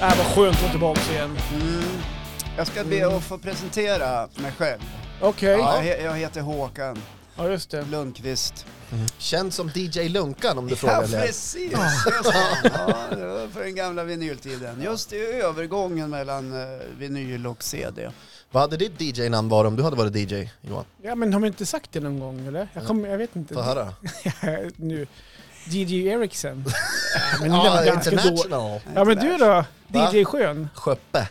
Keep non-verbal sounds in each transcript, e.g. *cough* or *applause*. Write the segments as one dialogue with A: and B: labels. A: Äh, vad skönt att vara tillbaka igen.
B: Mm. Jag ska be att få presentera mig själv.
A: Okej.
B: Ja, jag,
A: Ja.
B: he- jag heter Håkan
A: just det.
B: Lundqvist.
C: Känd som DJ Lunkan om du
B: Ja,
C: frågar. eller?
B: precis! Just det. *laughs* Ja, det var för den gamla vinyltiden. Just i övergången mellan eh, vinyl och CD.
C: Vad hade ditt DJ-namn varit om du hade varit DJ, Johan?
A: Ja, men har vi inte sagt det någon gång eller? Jag, kommer, jag vet
C: Få
A: inte.
C: höra.
A: *laughs* nu. DJ
B: *laughs*
A: Eriksson. Ja, men det var
C: Ja,
A: ganska dåligt.
C: international.
A: Ja, men du då?
C: Va?
A: DJ Skön?
C: Sköppe.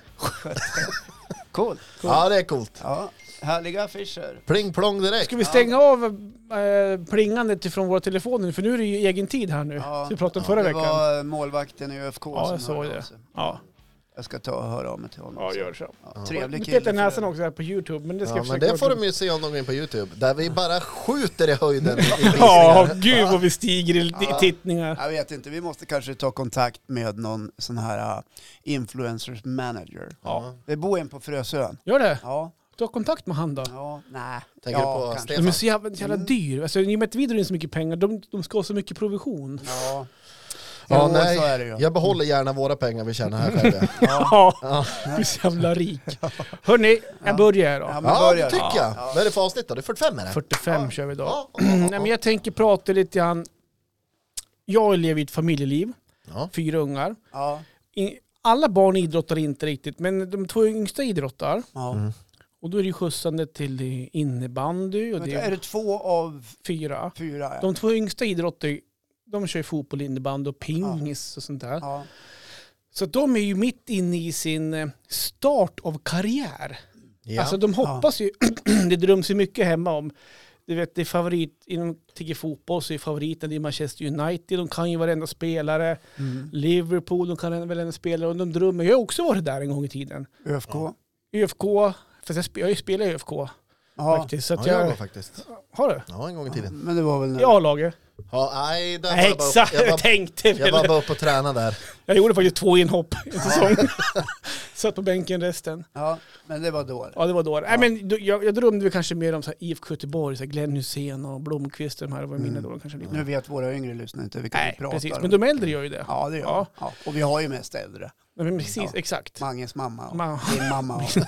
B: Coolt.
C: Ja, det är coolt.
B: Ja, härliga affischer.
C: Pling plong direkt.
A: Ska vi stänga av eh, plingandet ifrån våra telefoner nu? För nu är det ju egen tid här nu.
B: Ja,
A: som vi pratade om förra
B: det
A: veckan.
B: var målvakten i ÖFK
A: Ja, jag
B: som
A: såg
B: hörde av
A: det.
B: sig.
A: Ja,
B: Jag ska ta och höra av mig till honom.
A: ja gör så.
B: Ja, trevlig
A: Nu
B: kille.
A: petar jag
B: för
A: näsan
B: övrigt.
A: också här på Youtube, men det ska
C: Ja,
A: jag
C: men
A: försöka...
C: det får de ju se om de går in på Youtube, där vi bara skjuter i höjden. i
A: Ja,
C: *laughs* visningar.
A: gud vad vi stiger i i tittningar.
B: Jag vet inte, vi måste kanske ta kontakt med någon sån här uh, influencers manager.
C: Ja.
B: Det bor en på Frösön.
A: Gör det?
B: Ja,
A: Du har kontakt med han då?
B: ja, nej.
C: Tänker
B: ja,
C: du på
B: kanske.
A: De är
C: Stefan?
A: så jävla, så jävla dyr. Alltså, I och med att vi drar in så mycket pengar, de, de ska ha så mycket provision.
B: Ja,
C: Ja,
B: Jo,
C: nej.
B: så är det ju.
C: Jag behåller gärna våra pengar vi tjänar här själva.
A: *laughs* Ja, du är så jävla rik. Hörni, jag börjar
B: Ja,
A: då.
B: men
C: Ja, det
B: börjar.
C: tycker jag. Vad är det för avsnitt då? Det är 45 är det?
A: 45 kör vi idag.
C: Ja, ja, ja,
A: Nej, men jag tänker prata lite grann. Jag lever i ett familjeliv,
C: Ja.
A: fyra ungar.
B: Ja,
A: I- Alla barn idrottar inte riktigt, men de två yngsta idrottar.
B: ja.
C: Mm.
A: Och då är det ju skjutsande till eh, innebandy och
B: Vänta,
A: det
B: är
A: är
B: det två av
A: fyra.
B: fyra? Ja.
A: De två yngsta idrottar, ju- de kör ju fotboll, innebandy och pingis och sånt där.
B: Ja.
A: Så de är ju mitt inne i sin eh, start av karriär.
C: Ja.
A: Alltså de hoppas ju, *clears throat* det dröms ju mycket hemma om, du vet det är favorit, inom tycker fotboll så är favoriten i Manchester United, de kan ju varenda spelare, Liverpool, de kan varenda spelare och de drömmer, jag har också varit där en gång i tiden.
B: ÖFK?
A: ÖFK, fast jag, sp- jag har ju spelat i ÖFK
B: Ja.
A: faktiskt, så att
C: ja, jag var
A: jag,
C: faktiskt.
A: har du?
C: Ja, en gång i tiden.
B: Men det var väl nu?
A: I A-laget?
C: Ja, nej, där var jag bara upp-
A: Exakt,
C: jag
A: jag
C: var,
A: tänkte
C: jag
A: väl.
C: var bara uppe och tränade där.
A: Jag gjorde faktiskt två inhopp i säsong. *laughs* Satt på bänken resten.
B: Ja, men det var då. det.
A: Ja, det var då. Nej, men då- jag, jag drömde väl kanske mer om så här IFK Göteborg, så här Glenn Hysén och Blomqvist, de här var mina då kanske. Lite.
B: Mm. Nu vet våra yngre lyssnare inte vilka
A: Nej,
B: vi pratar
A: precis.
B: om.
A: Men de äldre gör ju det.
B: Ja, det gör
A: Ja.
B: ja. ja. Och vi har ju mest äldre.
A: Nej, Men precis,
B: Ja.
A: exakt.
B: Manges mamma och
A: Man-
B: din mamma och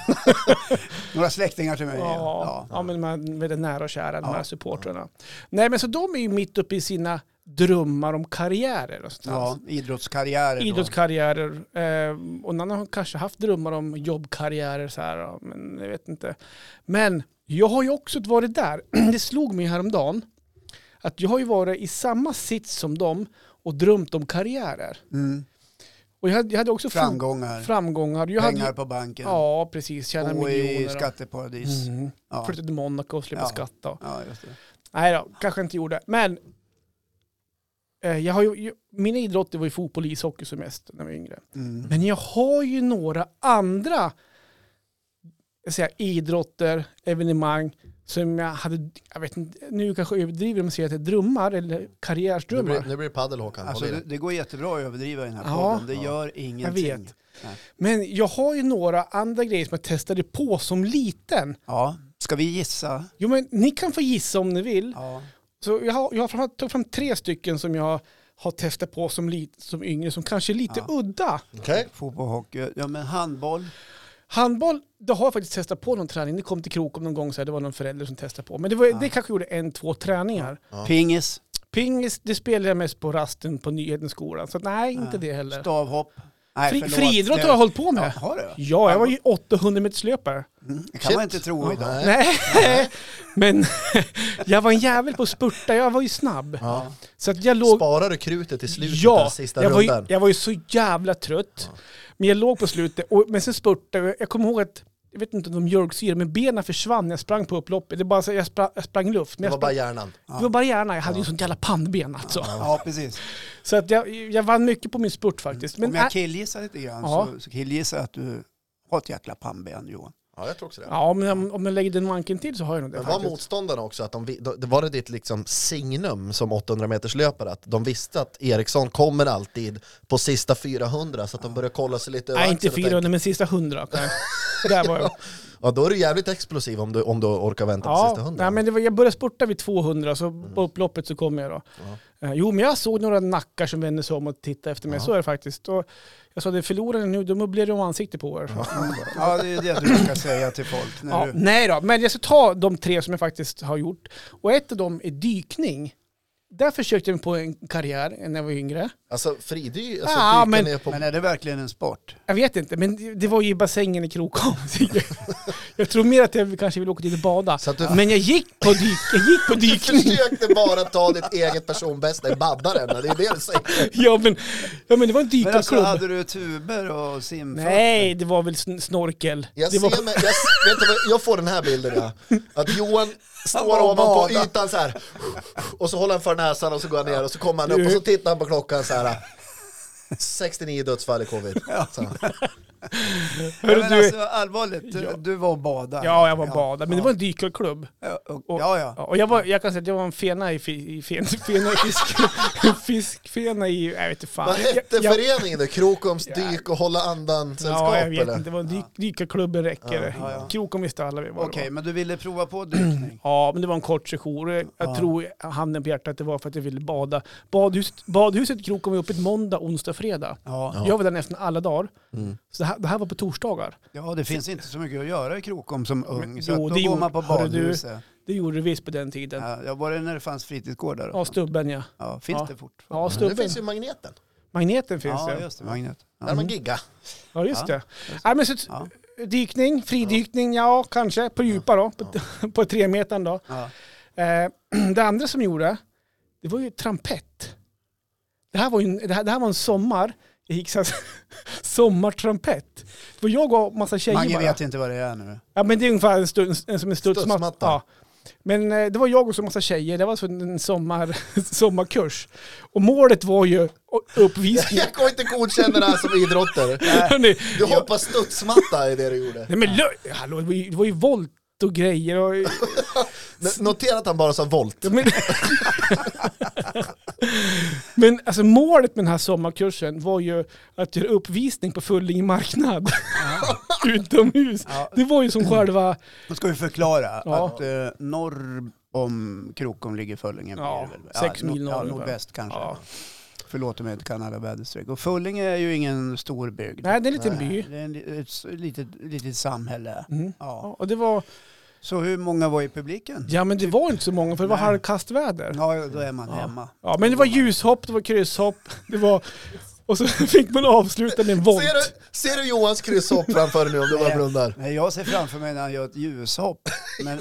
A: *laughs*
B: några släktingar till mig.
A: Ja, ja. men de här väldigt nära och kära, de här supportrarna. Nej, men så de är ju mitt uppe i sina drömmar om karriärer och sånt där.
B: ja idrottskarriärer. då.
A: Idrottskarriärer. Eh, och någon har kanske haft drömmar om jobbkarriärer så här, ja, men jag vet inte. Men jag har ju också varit där. *clears throat* Det slog mig häromdagen att jag har ju varit i samma sits som dem och drömt om karriärer.
B: Mm.
A: Och jag hade, jag hade också fot-
B: Framgångar,
A: framgångar. Jag
B: pengar
A: hade,
B: på banken,
A: ja, precis. Tjäna
B: bo i
A: miljoner.
B: skatteparadis.
A: Mm.
B: Ja.
A: Flyttade till Monaco och slippa
B: Ja.
A: skatta.
B: ja, just det.
A: Nej då, kanske inte gjorde. Men eh, jag har ju, ju, mina idrotter var ju fotboll och ishockey som mest när jag var yngre.
B: Mm.
A: Men jag har ju några andra jag säger, idrotter, evenemang som jag hade, jag vet inte, nu kanske jag överdriver om jag säger att jag drömmar eller
C: Nu blir,
A: karriärsdrömmar.
C: nu blir det padel Håkan.
B: Alltså,
C: Håll i
B: det,
C: dig.
B: det går jättebra att överdriva i den här
A: Ja.
B: podden. Det gör ingenting.
A: Jag vet.
B: Nej.
A: Men jag har ju några andra grejer som jag testade på som liten.
B: Ja. Ska vi gissa?
A: Jo men ni kan få gissa om ni vill.
B: Ja.
A: Så jag har, jag har framförallt tagit fram tre stycken som jag har testat på som, lit, som yngre som kanske är lite udda.
C: Okej.
B: Fotboll, hockey, ja men handboll.
A: Handboll, det har jag faktiskt testat på någon träning. Det kom till Krokom någon gång, så här, det var någon förälder som testade på. Men det, var, det kanske gjorde en, två träningar.
C: Ja.
B: Pingis,
A: Pingis, det spelade jag mest på rasten på nyheten i skolan. Så att, nej, inte det heller.
B: stavhopp. Nej,
A: Fri,
B: förlåt.
A: friidrott
B: Det-
A: har jag hållit på med.
B: Ja, har du?
A: Ja, jag var ju 800 meterslöpare.
B: Det kan man inte tro idag.
C: Nej.
A: Nej, *laughs* men jag var en jävel på att spurta. Jag var ju snabb.
C: Ja.
A: Så att jag låg...
C: Sparar du krutet i slutet av
A: Ja,
C: sista
A: jag var, ju,
C: rundan?
A: jag var ju så jävla trött. Men jag låg på slutet, och, men sen spurtade jag. Jag kommer ihåg att, jag vet inte om det var mjölksyra, men benen försvann när jag sprang på upploppet. Det var bara så, jag, sprang, jag sprang luft. Men
C: Det
A: jag
C: var
A: sprang,
C: bara hjärnan.
A: det var bara hjärnan. Jag hade ju sånt jävla pannben alltså.
B: Ja, precis.
A: Så att jag, jag vann mycket på min spurt faktiskt. Men,
B: Om jag killgissar lite grann
A: Ja.
B: så, så killgissar jag att du har ett jäkla pannben Johan.
C: Ja, jag tror också det.
A: ja, men om, om jag lägger den manken till så har jag nog det
C: Men var
A: faktiskt.
C: motståndarna också att de, vi- då- det var det ditt liksom signum som 800 meters löpare att de visste att Eriksson kommer alltid på sista 400 så att de började kolla sig lite över
A: Ah. Nej, inte
C: *laughs* axeln och tänkte,
A: 400, men sista 100. Nej. Där var jag.
C: Ja, då är du jävligt explosiv om du, om du orkar vänta till sista
A: Ja,
C: hundra.
A: nej,
C: Mm.
A: men det var, jag började spurta vid 200 så på upploppet så kom jag då. Eh, Jo, men jag såg några nackar som vände sig om och tittade efter mig,
C: Ja.
A: så är det faktiskt. Och jag sa, det förlorar ni nu, då möblerar de ansikte på er.
B: Ja, det är det du brukar säga till folk. När
C: *laughs*
A: Ja,
B: du...
A: nej då, men jag ska ta de tre som jag faktiskt har gjort. Och ett av dem är dykning. Där försökte jag mig på en karriär när jag var yngre.
C: Alltså fridy, alltså
A: Ja,
C: dyka
A: men-
C: ner på...
B: Men är det verkligen en sport?
A: Jag vet inte, men det- det var ju i bassängen i Krokom. *laughs* jag tror mer att jag kanske vill åka dit och bada.
C: Så att du-
A: Men jag gick på, dyk, jag gick på
C: Du
A: dykning.
C: försökte bara ta ditt eget personbästa i baddaren, det är det du säger.
A: Ja men, ja, men det var en
B: Men alltså,
A: dykarklubb.
B: hade du tuber och simfötter?
A: Nej, det var väl sn- snorkel.
C: Jag,
A: det var...
C: ser mig, jag, vet du, vad, jag får den här bilden ja.
A: *laughs*
C: Att Johan står
B: bara
C: ovanpå
B: badar.
C: ytan så här. och så håller han för näsan och så går han ner och så kommer han upp och så tittar han på klockan så här. 69 dödsfall i covid. Så.
B: Ja,
A: Hörru,
B: men
A: du...
B: alltså, allvarligt, du,
A: Ja.
B: du var och badade?
A: Ja, jag var badad, men det var en dykarklubb.
B: Ja, och,
A: Och-
B: ja, ja.
A: Ja, och jag, var, jag kan säga att jag var en fena i, fi, i fen, *laughs* fena i fisk, fiskfena i, jag vet inte fan.
C: Vad hette
A: jag, jag,
C: föreningen då? Krokoms dyk och hålla andan-sällskap
A: Ja, jag vet
C: eller?
A: inte. Det var en dyk, dykarklubben räcker det.
B: Ja, ja.
A: Krokom visste alla vi var. det
B: Okej,
A: var.
B: men du ville prova
A: *clears throat*
B: på dykning?
A: Ja, men det var en kort session. Jag
B: Ja.
A: tror, handen på hjärtat, det var för att jag ville bada. Badhuset, badhuset i Krokom var öppet måndag, onsdag, fredag.
B: Ja.
A: Jag var där nästan alla dagar.
C: Mm.
A: Så det här, det här var på torsdagar.
B: ja, det finns inte så mycket att göra i Krokom som ung,
A: Men-
B: så
A: jo,
B: att då
A: det
B: går
A: gjorde-
B: man på
A: hörru, du-
B: badhuset.
A: Det gjorde det visst på den tiden.
B: Ja, jag var det när det fanns fritidsgårdar?
A: Ja,
B: då?
A: stubben ja.
B: Ja, finns
A: Ja.
B: det fortfarande?
A: Ja,
C: Nu
A: stubben.
C: finns ju magneten.
A: Magneten finns
B: ja,
A: ja.
B: just det, Magnet.
C: Där
A: Mm.
C: man gigga. *laughs*
A: Ja, just
B: Ja,
A: det. Nej, men så,
B: Ja.
A: Dykning, fridykning, ja kanske. På djupa då, på, *laughs* på tre metern då.
B: Ja.
A: Eh, *clears throat* det andra som gjorde, det var ju trampett. Det här var, ju, en- det här, det här var en sommar, jag gick så här, *laughs* sommartrampett. Det var jag och massa tjejer
B: Mange
A: bara.
B: vet inte vad det är nu.
A: Ja men det är ungefär en stund, en, som en studsmatta.
C: Studsmatta.
A: Ja. Men eh, det var jag och så massa tjejer, det var så en sommar, *laughs* sommarkurs. Och målet var ju uppvisning.
B: *laughs*
C: Jag kommer inte godkänna det här som idrotter.
A: Hörrni,
C: Du hoppar studsmatta i det du gjorde.
A: Nej men lö- hallå, det var ju, det var ju volt och grejer och...
C: Men Notera att han bara sa volt.
A: Ja, men, *laughs* men alltså målet med den här sommarkursen var ju att göra uppvisning på Fullinge marknad. *laughs* Utomhus.
B: Ja.
A: Det var ju som själva...
B: Då ska vi förklara
A: Ja.
B: att eh, norr om Krokom ligger Föllinge.
A: Ja,
B: blir det väl.
A: sex
B: no-
A: mil norr
B: Ja,
A: ungefär.
B: nordväst kanske.
A: Ja.
B: Förlåt om jag inte kan alla väderstreck. Och Föllinge är ju ingen stor bygd.
A: Nej, det är en liten by.
B: Det är en, li- ett s- litet, litet samhälle.
A: Mm.
B: Ja.
A: Ja, och det var...
B: Så hur många var i publiken?
A: Ja men det var inte så många för det var
B: Nej.
A: halvkastväder.
B: Ja, då är man hemma.
A: Ja men det var ljushopp, det var krysshopp, det var... Och så *laughs* fick man avsluta med en volt.
C: Ser du, ser du Johans krysshopp framför dig nu om du bara blundar?
B: Nej, jag ser framför mig när han gör ett ljushopp.
A: *laughs*
B: Men,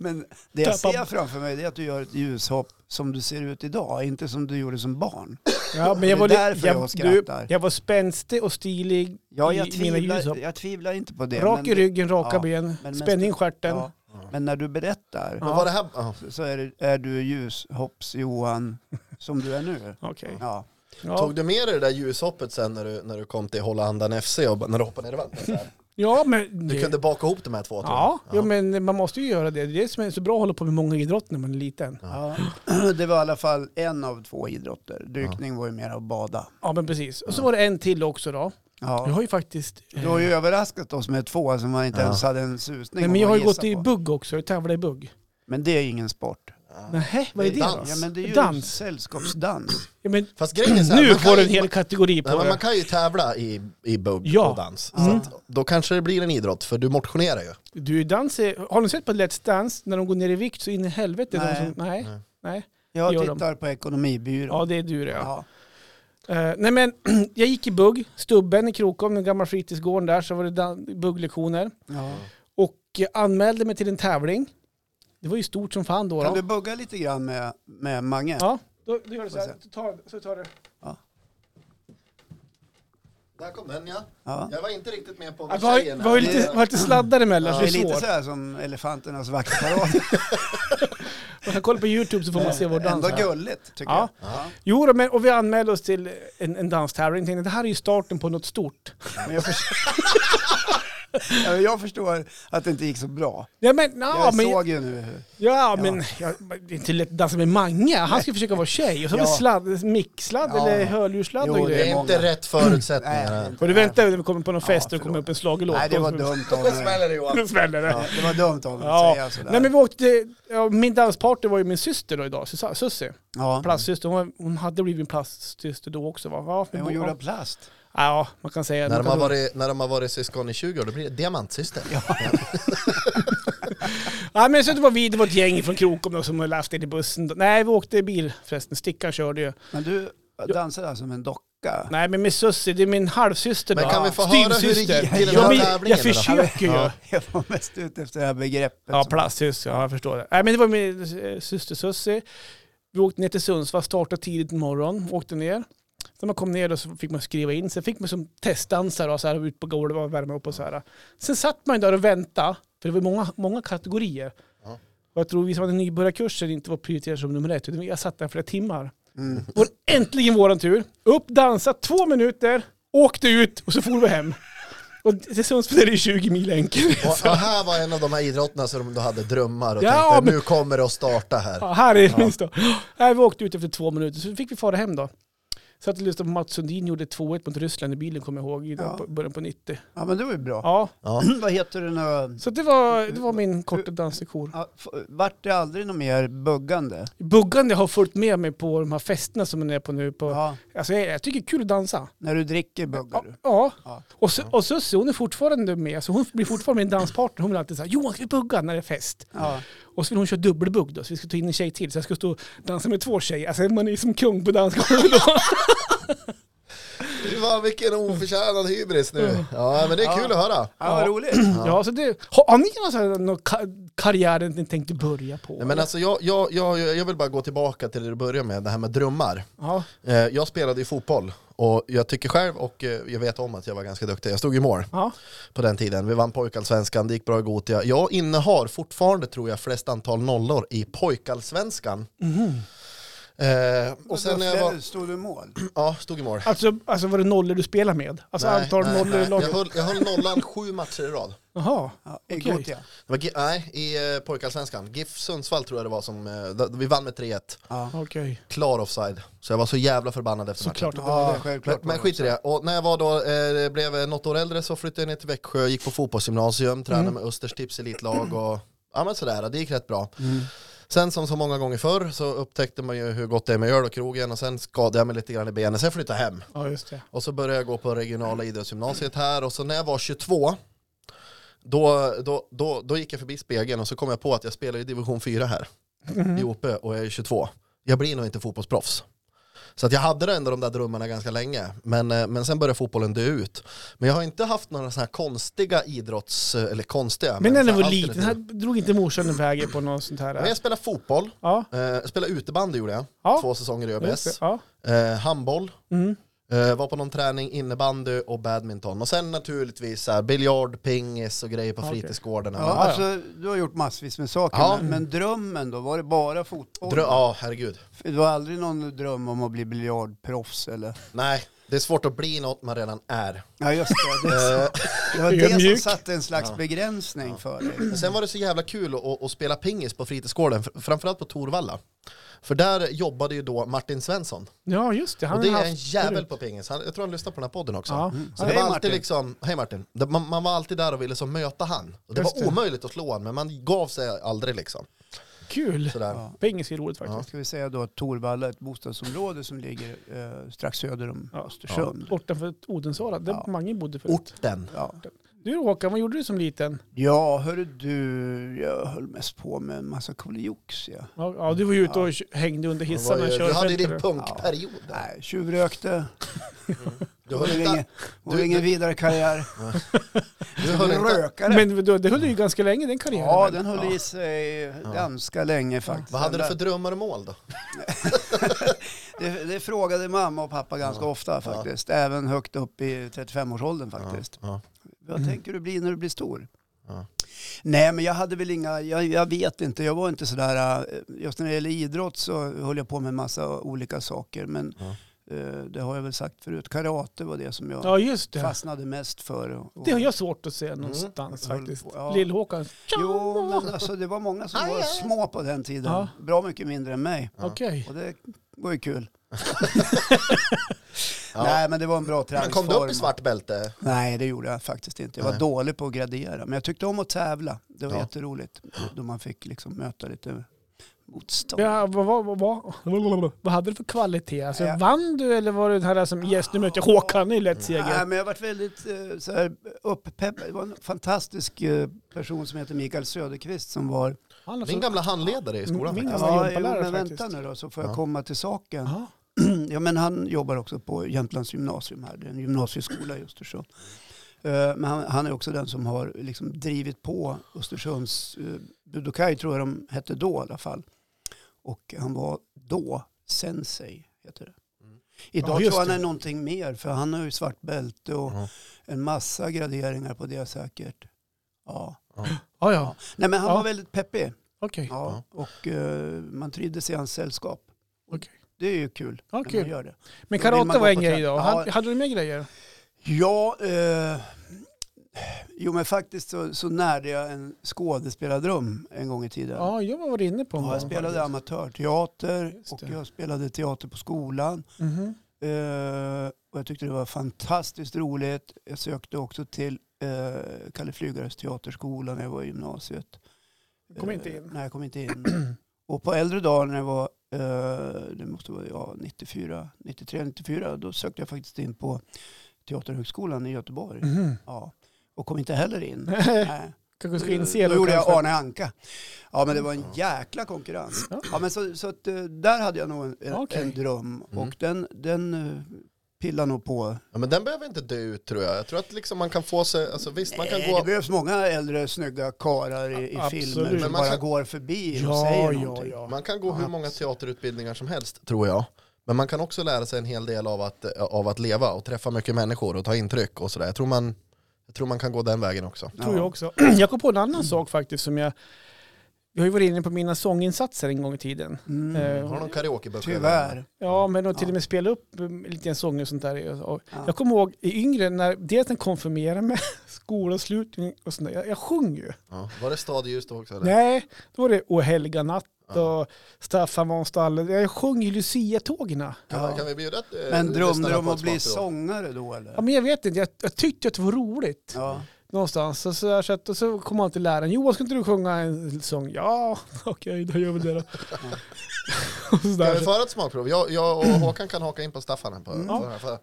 B: men det jag
A: Tappa-
B: ser framför mig det är att du gör ett ljushopp som du ser ut idag, inte som du gjorde som barn.
A: Ja, men
B: Det är
A: jag var,
B: därför jag
A: jag,
B: skrattar.
A: du, jag var spänstig och stilig
B: Ja,
A: i
B: jag,
A: mina
B: tvivlar,
A: ljushopp.
B: jag tvivlar inte på det.
A: Rak
B: men
A: i ryggen, raka
B: ja,
A: ben,
B: men
A: spänning i
B: mest-
A: stjärten.
B: Ja, men när du berättar
C: Vad var det här? Ja.
B: så är, det, är du ljushopps-Johan som du är nu.
A: Okej.
B: Ja.
A: Ja.
C: Tog du med dig det där ljushoppet sen när du, när du kom till Hålla andan FC och bara- när du hoppade ner i vattnet?
A: *laughs*
C: så här?
A: ja, men...
C: Du
A: det-
C: kunde baka ihop de här två? tror jag.
A: Ja, ja. men man måste ju göra det. Det är som är så bra att hålla på med många idrotter när man är liten. Ja,
B: Ja. *clears throat* Det var i alla fall en av två idrotter. Dykning var ju mer att bada.
A: men precis. Och så var det en till också då.
B: Ja.
A: Jag har ju faktiskt... eh,
B: Du har ju överraskat oss med två som man inte
C: Ja.
B: ens hade en susning
A: Nej,
B: om
A: men jag
B: vad
A: har ju
B: gissa
A: gått i
B: på.
A: bugg också. Jag tävlar i bugg.
B: Men det är ingen sport.
A: Nähä, vad är det då?
C: dans.
B: Ja, men det är ju
A: Dans. *clears throat*
B: sällskapsdans.
A: Ja, men
C: Fast grejen är så här,
A: nu
C: man kan
A: får du
C: ju-
A: en hel kategori
C: Nej,
A: på
C: men man
A: det.
C: kan ju tävla i, i bugg
A: Ja. Mm.
C: och dans. Så att, då kanske det blir en idrott, för du motionerar ju.
A: Du, dans är, har ni sett på Let's Dance? När de går ner i vikt så in i helvete.
B: Nej.
A: De som, nej.
C: Nej.
A: nej.
B: Jag
A: Gör de.
B: tittar på ekonomibyrån.
A: Ja, det är du det. Ja.
B: Ja.
A: Eh, nej men, *clears throat* jag gick i bugg. Stubben i Krokom, den gamla fritidsgården där, så var det dan- bugglektioner.
B: Ja.
A: Och jag anmälde mig till en tävling. Det var ju stort som fan då.
B: Kan
A: då.
B: du bugga lite grann med, med Mange?
A: Ja, då, då gör du så här. Så tar, så tar du.
C: Där kom den ja.
B: Ja.
C: Jag var inte riktigt med på
A: Ja, vi har, ju- vi har ju lite, vi har lite sladdar emellan så
B: Det
A: det
B: är lite
A: är
B: så
A: svårt.
B: här som elefanternas vaktparad.
A: *laughs* Man kan kolla på YouTube så får man se vår dans.
B: Ändå
A: här.
B: gulligt tycker
A: Ja.
B: jag. Ja.
A: Jo, då, men, och vi anmälde oss till en, en danstävling. Tänkte, det här är ju starten på något stort.
B: Men jag, förs- *laughs* Ja, Jag förstår att det inte gick så bra.
A: Ja, men, ja,
B: jag
A: men,
B: såg ju nu hur...
A: ja,
B: Ja.
A: men ja, det är inte lätt att dansa med Mange. Han ska försöka vara tjej. Och så har vi
B: Ja.
A: sladd, micksladd
B: Ja.
A: eller hörlurssladd
B: Jo,
A: och
B: det
C: Det
A: grejer.
C: är inte
B: många.
C: rätt förutsättningar.
B: Nej.
A: Och du väntar när vi kommer på någon
B: Ja,
A: fest och det kommer
B: förlåt.
A: upp en schlagerlåt.
B: Nej, det var
A: *laughs* Då-
B: dumt av mig.
C: det Johan.
A: Då smäller det.
B: Ja, det var dumt av mig att
A: Ja.
B: säga sådär.
A: Nej, men vi åkte, ja, min danspartner var ju min syster då idag, Susa- Sussi.
B: ja.
A: Plastsyster, hon, var- hon hade blivit en plastsyster då också va? Ja, vi
B: Men hon
A: bo-
B: gjorde av plast.
A: ja man kan säga
C: När
A: man
C: de,
A: kan nog-
C: har varit, när de har varit syskon i 20 år, då blir det diamantsyster.
A: Ja, men så det var vi, det var ett gäng från Krokom då, som hade läst in i bussen. Nej, vi åkte i bil förresten. Stickan körde ju.
B: Men du dansade alltså som en docka?
A: Nej, men med Sussi, det är min halvsyster
C: Men
A: då.
C: kan vi få höra hur det
A: Styvsyster.
C: gick till den
A: Ja,
C: här
A: men
C: tävlingen
A: Jag
C: då?
A: försöker ju.
B: Ja, Jag var mest ute efter det här begreppet.
A: Ja,
B: som-
A: plastsyster, ja, jag förstår det. Nej, men det var min eh, syster Sussi. Vi åkte ner till Sundsvall, startade tidigt på morgonen, åkte ner. När man kom ner då så fick man skriva in, sen fick man som testdansare och så här ut på golvet och värma upp och så här. Sen satt man ju där och väntade, för det var många, många kategorier.
C: Ja.
A: Och jag tror vi som hade nybörjarkursen inte var prioriterade som nummer ett, utan jag satt där flera timmar.
B: Mm.
A: Och äntligen våran tur. Upp, dansa två minuter, åkte ut och så for vi hem. Och till Sundsvall är det ju 20 mil enkel.
C: Och, och här var en av de här idrotterna som du hade drömmar och
A: Ja,
C: tänkte
A: men-
C: nu kommer det att starta här.
A: Ja, här är det minst då. Nej, vi åkte ut efter två minuter, så fick vi fara hem då. Så att lyssnade på Mats Sundin gjorde 2-1 mot Ryssland i bilen, kommer jag ihåg, i
B: Ja.
A: på början på 90.
B: Ja, men det var ju bra.
A: Ja,
C: Ja.
B: *clears throat* Vad heter det nu?
A: så det var, det var min korta danslektion.
B: Ja, f- Vart det aldrig något mer buggande?
A: Buggande har följt med mig på de här festerna som man är på nu. På,
B: Ja,
A: Alltså jag, jag tycker det är kul att dansa.
B: när du dricker buggar
A: Ja,
B: du.
A: ja.
B: Ja.
A: och, Su- och Sussie hon är fortfarande med, så hon blir fortfarande min danspartner. Hon vill alltid säga Johan ska vi bugga när det är fest?
B: Ja.
A: Och så vill hon köra dubbelbugg då, så vi ska ta in en tjej till. Så jag ska stå och dansa med två tjejer. Alltså man är ju som kung på dansgolvet då.
C: Fy fan, vilken oförtjänad hybris nu. Ja men det är kul att
B: Ja,
C: höra.
B: vad
A: Mm. Ja.
B: roligt.
A: Ja. så det, har, har ni någon, sån här, någon ka- karriär ni tänkte börja på?
C: Nej, men alltså jag, jag, jag, jag vill bara gå tillbaka till det du började med, det här med drömmar.
A: ja.
C: Eh, Jag spelade ju fotboll och jag tycker själv och eh, jag vet om att jag var ganska duktig. Jag stod i mål
A: Ja.
C: på den tiden. Vi vann pojkallsvenskan, det gick bra i Gothia. Jag innehar fortfarande tror jag flest antal nollor i pojkallsvenskan.
A: Mhm.
C: Eh, och sen när jag var,
B: Stod du i mål?
C: ja, stod i mål.
A: Alltså, alltså var det nollor du spelar med? Alltså
C: Nej,
A: antal
C: nej,
A: nollor
C: nej.
A: i laget?
C: Jag höll, jag höll nollan sju matcher i rad.
A: Jaha.
B: Ja, I
A: Okej.
B: Gothia?
C: Det var, G- nej, i eh, pojkallsvenskan. GIF Sundsvall tror jag det var som, eh, d- vi vann med 3-1.
B: Ja,
A: Okej.
C: Klar offside. Så jag var så jävla förbannad efter matchen.
A: Såklart att det var
B: ja
A: det.
B: självklart.
C: Men skit i det. Och när jag var då, eh, blev något år äldre så flyttade jag ner till Växjö, gick på fotbollsgymnasium, tränade med Östers tips elitlag och ja men sådär, det gick rätt bra.
B: Mm.
C: Sen som så många gånger förr så upptäckte man ju hur gott det är med öl och krogen och sen skadade jag mig lite grann i benen, sen flyttade jag hem.
A: Ja, just det.
C: Och så började jag gå på regionala idrottsgymnasiet här och så när jag var 22 då, då, då, då gick jag förbi spegeln och så kom jag på att jag spelar i division 4 här
A: Mhm.
C: i OP och jag är 22. Jag blir nog inte fotbollsproffs. Så att jag hade ändå de där drömmarna ganska länge. Men, eh, men sen började fotbollen dö ut. Men jag har inte haft några sådana här konstiga idrotts... eh, Eller konstiga...
A: Men när
C: så
A: du var
C: alternativa.
A: liten, här drog inte morsan iväg er på något sånt här?
C: Men jag spelade fotboll.
A: Ja.
C: Eh, jag spelade utebandy gjorde jag.
A: Ja.
C: Två säsonger i
A: just det.
C: ÖBS.
A: Ja.
C: Eh, handboll.
A: Mm.
C: Eh, var på någon träning, innebandy och badminton. Och sen naturligtvis så här, biljard, pingis och grejer på
A: Okej.
C: fritidsgårdarna.
B: Ja,
C: Ja.
B: alltså, du har gjort massvis med saker,
C: Ja.
B: men, men drömmen då? Var det bara fotboll?
C: Drö- ja, herregud.
B: Du har aldrig någon dröm om att bli biljardproffs eller?
C: Nej, det är svårt att bli något man redan är.
B: Ja just det, det,
C: *laughs* Eh,
B: det var
A: Jag är
B: det som
A: mjuk.
B: satte en slags
C: Ja.
B: begränsning för dig.
C: Men Sen var det så jävla kul att, att spela pingis på fritidsgården, fr- framförallt på Torvalla. För där jobbade ju då Martin Svensson.
A: ja, just det. Han
C: Och det
A: har
C: är
A: haft
C: en jävel
A: förut.
C: på Mm. pingis. Han, jag tror han lyssnar på den här podden också.
A: Ja.
C: Så
B: Hej,
C: det var alltid
B: Martin.
C: liksom, hej Martin. Det- Man, man var alltid där och ville så möta han. Och det
A: Just
C: var
A: det.
C: omöjligt att slå han, men man gav sig aldrig liksom.
A: Kul.
C: Sådär.
B: Ja.
A: Pingis är roligt faktiskt.
B: Ska vi säga då att Torvalla är ett bostadsområde som ligger eh, strax söder om
A: Ja.
B: Östersund. Ja.
A: Bortanför Odensala, där
B: Ja.
A: Mange bodde förut.
C: Orten.
B: Ja.
A: Du Håkan, vad gjorde du som liten?
B: hörru du, jag höll mest på med en massa kolioxia.
A: Ja, ja, du var ju ute och hängde under
C: Det var
A: hissarna.
C: ju-
A: och
C: Du
A: körde
C: hade ju din
A: fältare.
C: punkperiod. där.
B: Nej, tjuvrökte.
C: Du
B: var
C: höll
B: ingen,
C: inte,
B: var
C: du-
B: ingen vidare karriär.
C: du höll inte
B: Rökare.
A: Men då- det höll ju ganska länge den karriären.
B: Ja,
A: väl?
B: den höll i sig ganska länge faktiskt.
C: vad hade du för drömmar och mål då?
B: det, det frågade mamma och pappa ganska ofta faktiskt. Även högt upp i 35-årsåldern faktiskt.
C: Ja.
B: Vad tänker du bli när du blir stor?
C: Ja.
B: Nej, men jag hade väl inga, jag, jag vet inte, jag var inte sådär, eh, just när det gäller idrott så höll jag på med massa olika saker, men
C: Ja.
B: eh, det har jag väl sagt förut, karate var det som jag
A: Ja, just det.
B: fastnade mest för. och- och-
A: Det har jag svårt att se någonstans
B: Mm.
A: faktiskt.
B: Ja.
A: Lill-Håkan.
B: Jo, men alltså det var många som var små på den tiden.
A: Ja.
B: Bra mycket mindre än mig.
A: Okej.
B: Och det var ju kul.
C: Ja.
B: Nej, men det var en bra
C: Men kom du upp i
B: träningsform.
C: svart bälte?
B: Nej, det gjorde jag faktiskt inte. Jag var
C: Nej.
B: dålig på att gradera. Men jag tyckte om att tävla. Det var
C: Ja.
B: jätteroligt. Då man fick liksom möta lite motstånd.
A: Ja, vad, vad, vad, vad, vad hade du för kvalitet? Alltså,
B: Ja.
A: Vann du eller var du den här som yes, nu möter jag Håkan, det är ju lätt
B: Nej,
A: seger.
B: men jag varit väldigt eh, så här, upppeppad. Det var en fantastisk eh, person som heter Mikael Söderqvist som var...
A: Han
C: Min gamla handledare i skolan.
A: Min
C: faktiskt.
A: Han var
B: Alltså, Ja,
A: gympalärare
B: men vänta
A: faktiskt.
B: nu då så får jag
C: Ja.
B: komma till saken.
A: Ja.
B: *clears throat* Ja, men han jobbar också på Jämtlands gymnasium här. Det är en gymnasieskola i Östersund. Eh, Men han, han är också den som har liksom drivit på Östersunds eh, Budokai tror jag de hette då i alla fall. Och han var då sensei, heter det.
C: Mm.
A: Ja,
B: Idag
A: just
B: tror jag han
A: det. Mm.
B: är någonting mer för han har ju svart bälte och
C: Ja.
B: en massa graderingar på det säkert. Ja.
A: Ja, ja.
B: Nej men han
A: Ja.
B: var väldigt peppig.
A: Okej.
B: Ja. Och eh, man trivdes i hans sällskap.
A: Okej.
B: Det är ju kul
A: Ja,
B: när
A: kul.
B: man gör
A: Men
B: det. Då vill man
A: karate
B: gå
A: var en
B: på
A: grej
B: träning.
A: då.
B: Ja.
A: Hade, hade du mer grejer?
B: Ja, eh, jo men faktiskt så, så närde jag en skådespelardröm en gång i tiden.
A: Ja, jag var inne på en
B: Ja,
A: gång
B: jag spelade
A: faktiskt.
B: amatörteater
A: Just
B: och
A: det.
B: jag spelade teater på skolan.
A: Mhm.
B: Eh, och jag tyckte det var fantastiskt roligt. Jag sökte också till eh, Kalle Flygares teaterskola när jag var i gymnasiet.
A: Kom
B: Eh,
A: inte in.
B: Nej, jag kom
A: *clears throat*
B: inte in. och på äldre dagar när jag var, eh, det måste vara ja, 94, 93, 94, då sökte jag faktiskt in på Teaterhögskolan i Göteborg.
A: Mhm. *laughs*
B: Ja. Och kom inte heller in. Nej.
A: Kanske ska inse
B: Då gjorde jag
A: kanske.
B: Arne Anka. Ja men det var en jäkla konkurrens.
A: Ja.
B: Ja, men så, så att, eh, där hade jag nog en, en,
A: Okej.
B: en dröm
C: Mm.
B: och den, den eh, pillar nog på.
C: Ja, men den behöver inte dö ut tror jag. Jag tror att liksom man kan få sig, alltså visst man kan
B: Nej, Eh, Det
C: gå...
B: behövs många äldre snygga karar i, i
A: Absolut.
B: filmer
A: Men
B: som
C: man
B: bara
C: kan-
B: går förbi och
A: Ja,
B: säger
A: ja,
B: någonting.
A: ja.
C: Man kan gå hur många teaterutbildningar som helst tror jag. Men man kan också lära sig en hel del av att, av att leva och träffa mycket människor och ta intryck och sådär. Jag tror man, jag tror man kan gå den vägen också.
A: Tror jag
B: Ja.
A: också. *clears throat* Jag kom på en annan sak faktiskt som jag... Jag har ju varit inne på mina sånginsatser en gång i tiden.
B: Mm.
A: Eh,
C: Har du någon karaokebuffé?
B: Tyvärr.
A: Ja, men att till
B: Ja.
A: och med spela upp um, lite sånger och sånt där. Och
B: Ja.
A: Jag kommer ihåg i yngre, när dels när jag konfirmerade mig, *laughs* skolavslutning och sånt där. Jag, jag sjöng ju.
C: Ja. Var det stadljus då också? Eller?
A: Nej, då var det O helga natt
C: Ja.
A: och Staffan von Stallen. Jag sjöng ju Lucia-tågna.
C: Kan,
B: Ja.
C: kan vi bjuda ett, eh,
B: Men drömde
C: lyssnare
B: du om
C: på ett
B: att bli
C: smakprov?
B: sångare då eller?
A: Ja, men jag vet inte, jag, jag tyckte att det var roligt
B: Ja.
A: någonstans. Så, så, där, så, att, och så kom han till läraren, Johan ska inte du sjunga en sång? Ja, *laughs* okej då gör vi det då. *laughs* och så
C: Kan
A: där,
C: vi föra ett smakprov? Jag, jag och Håkan kan haka in på Staffan här. På,
B: Mm.
C: på den här. För-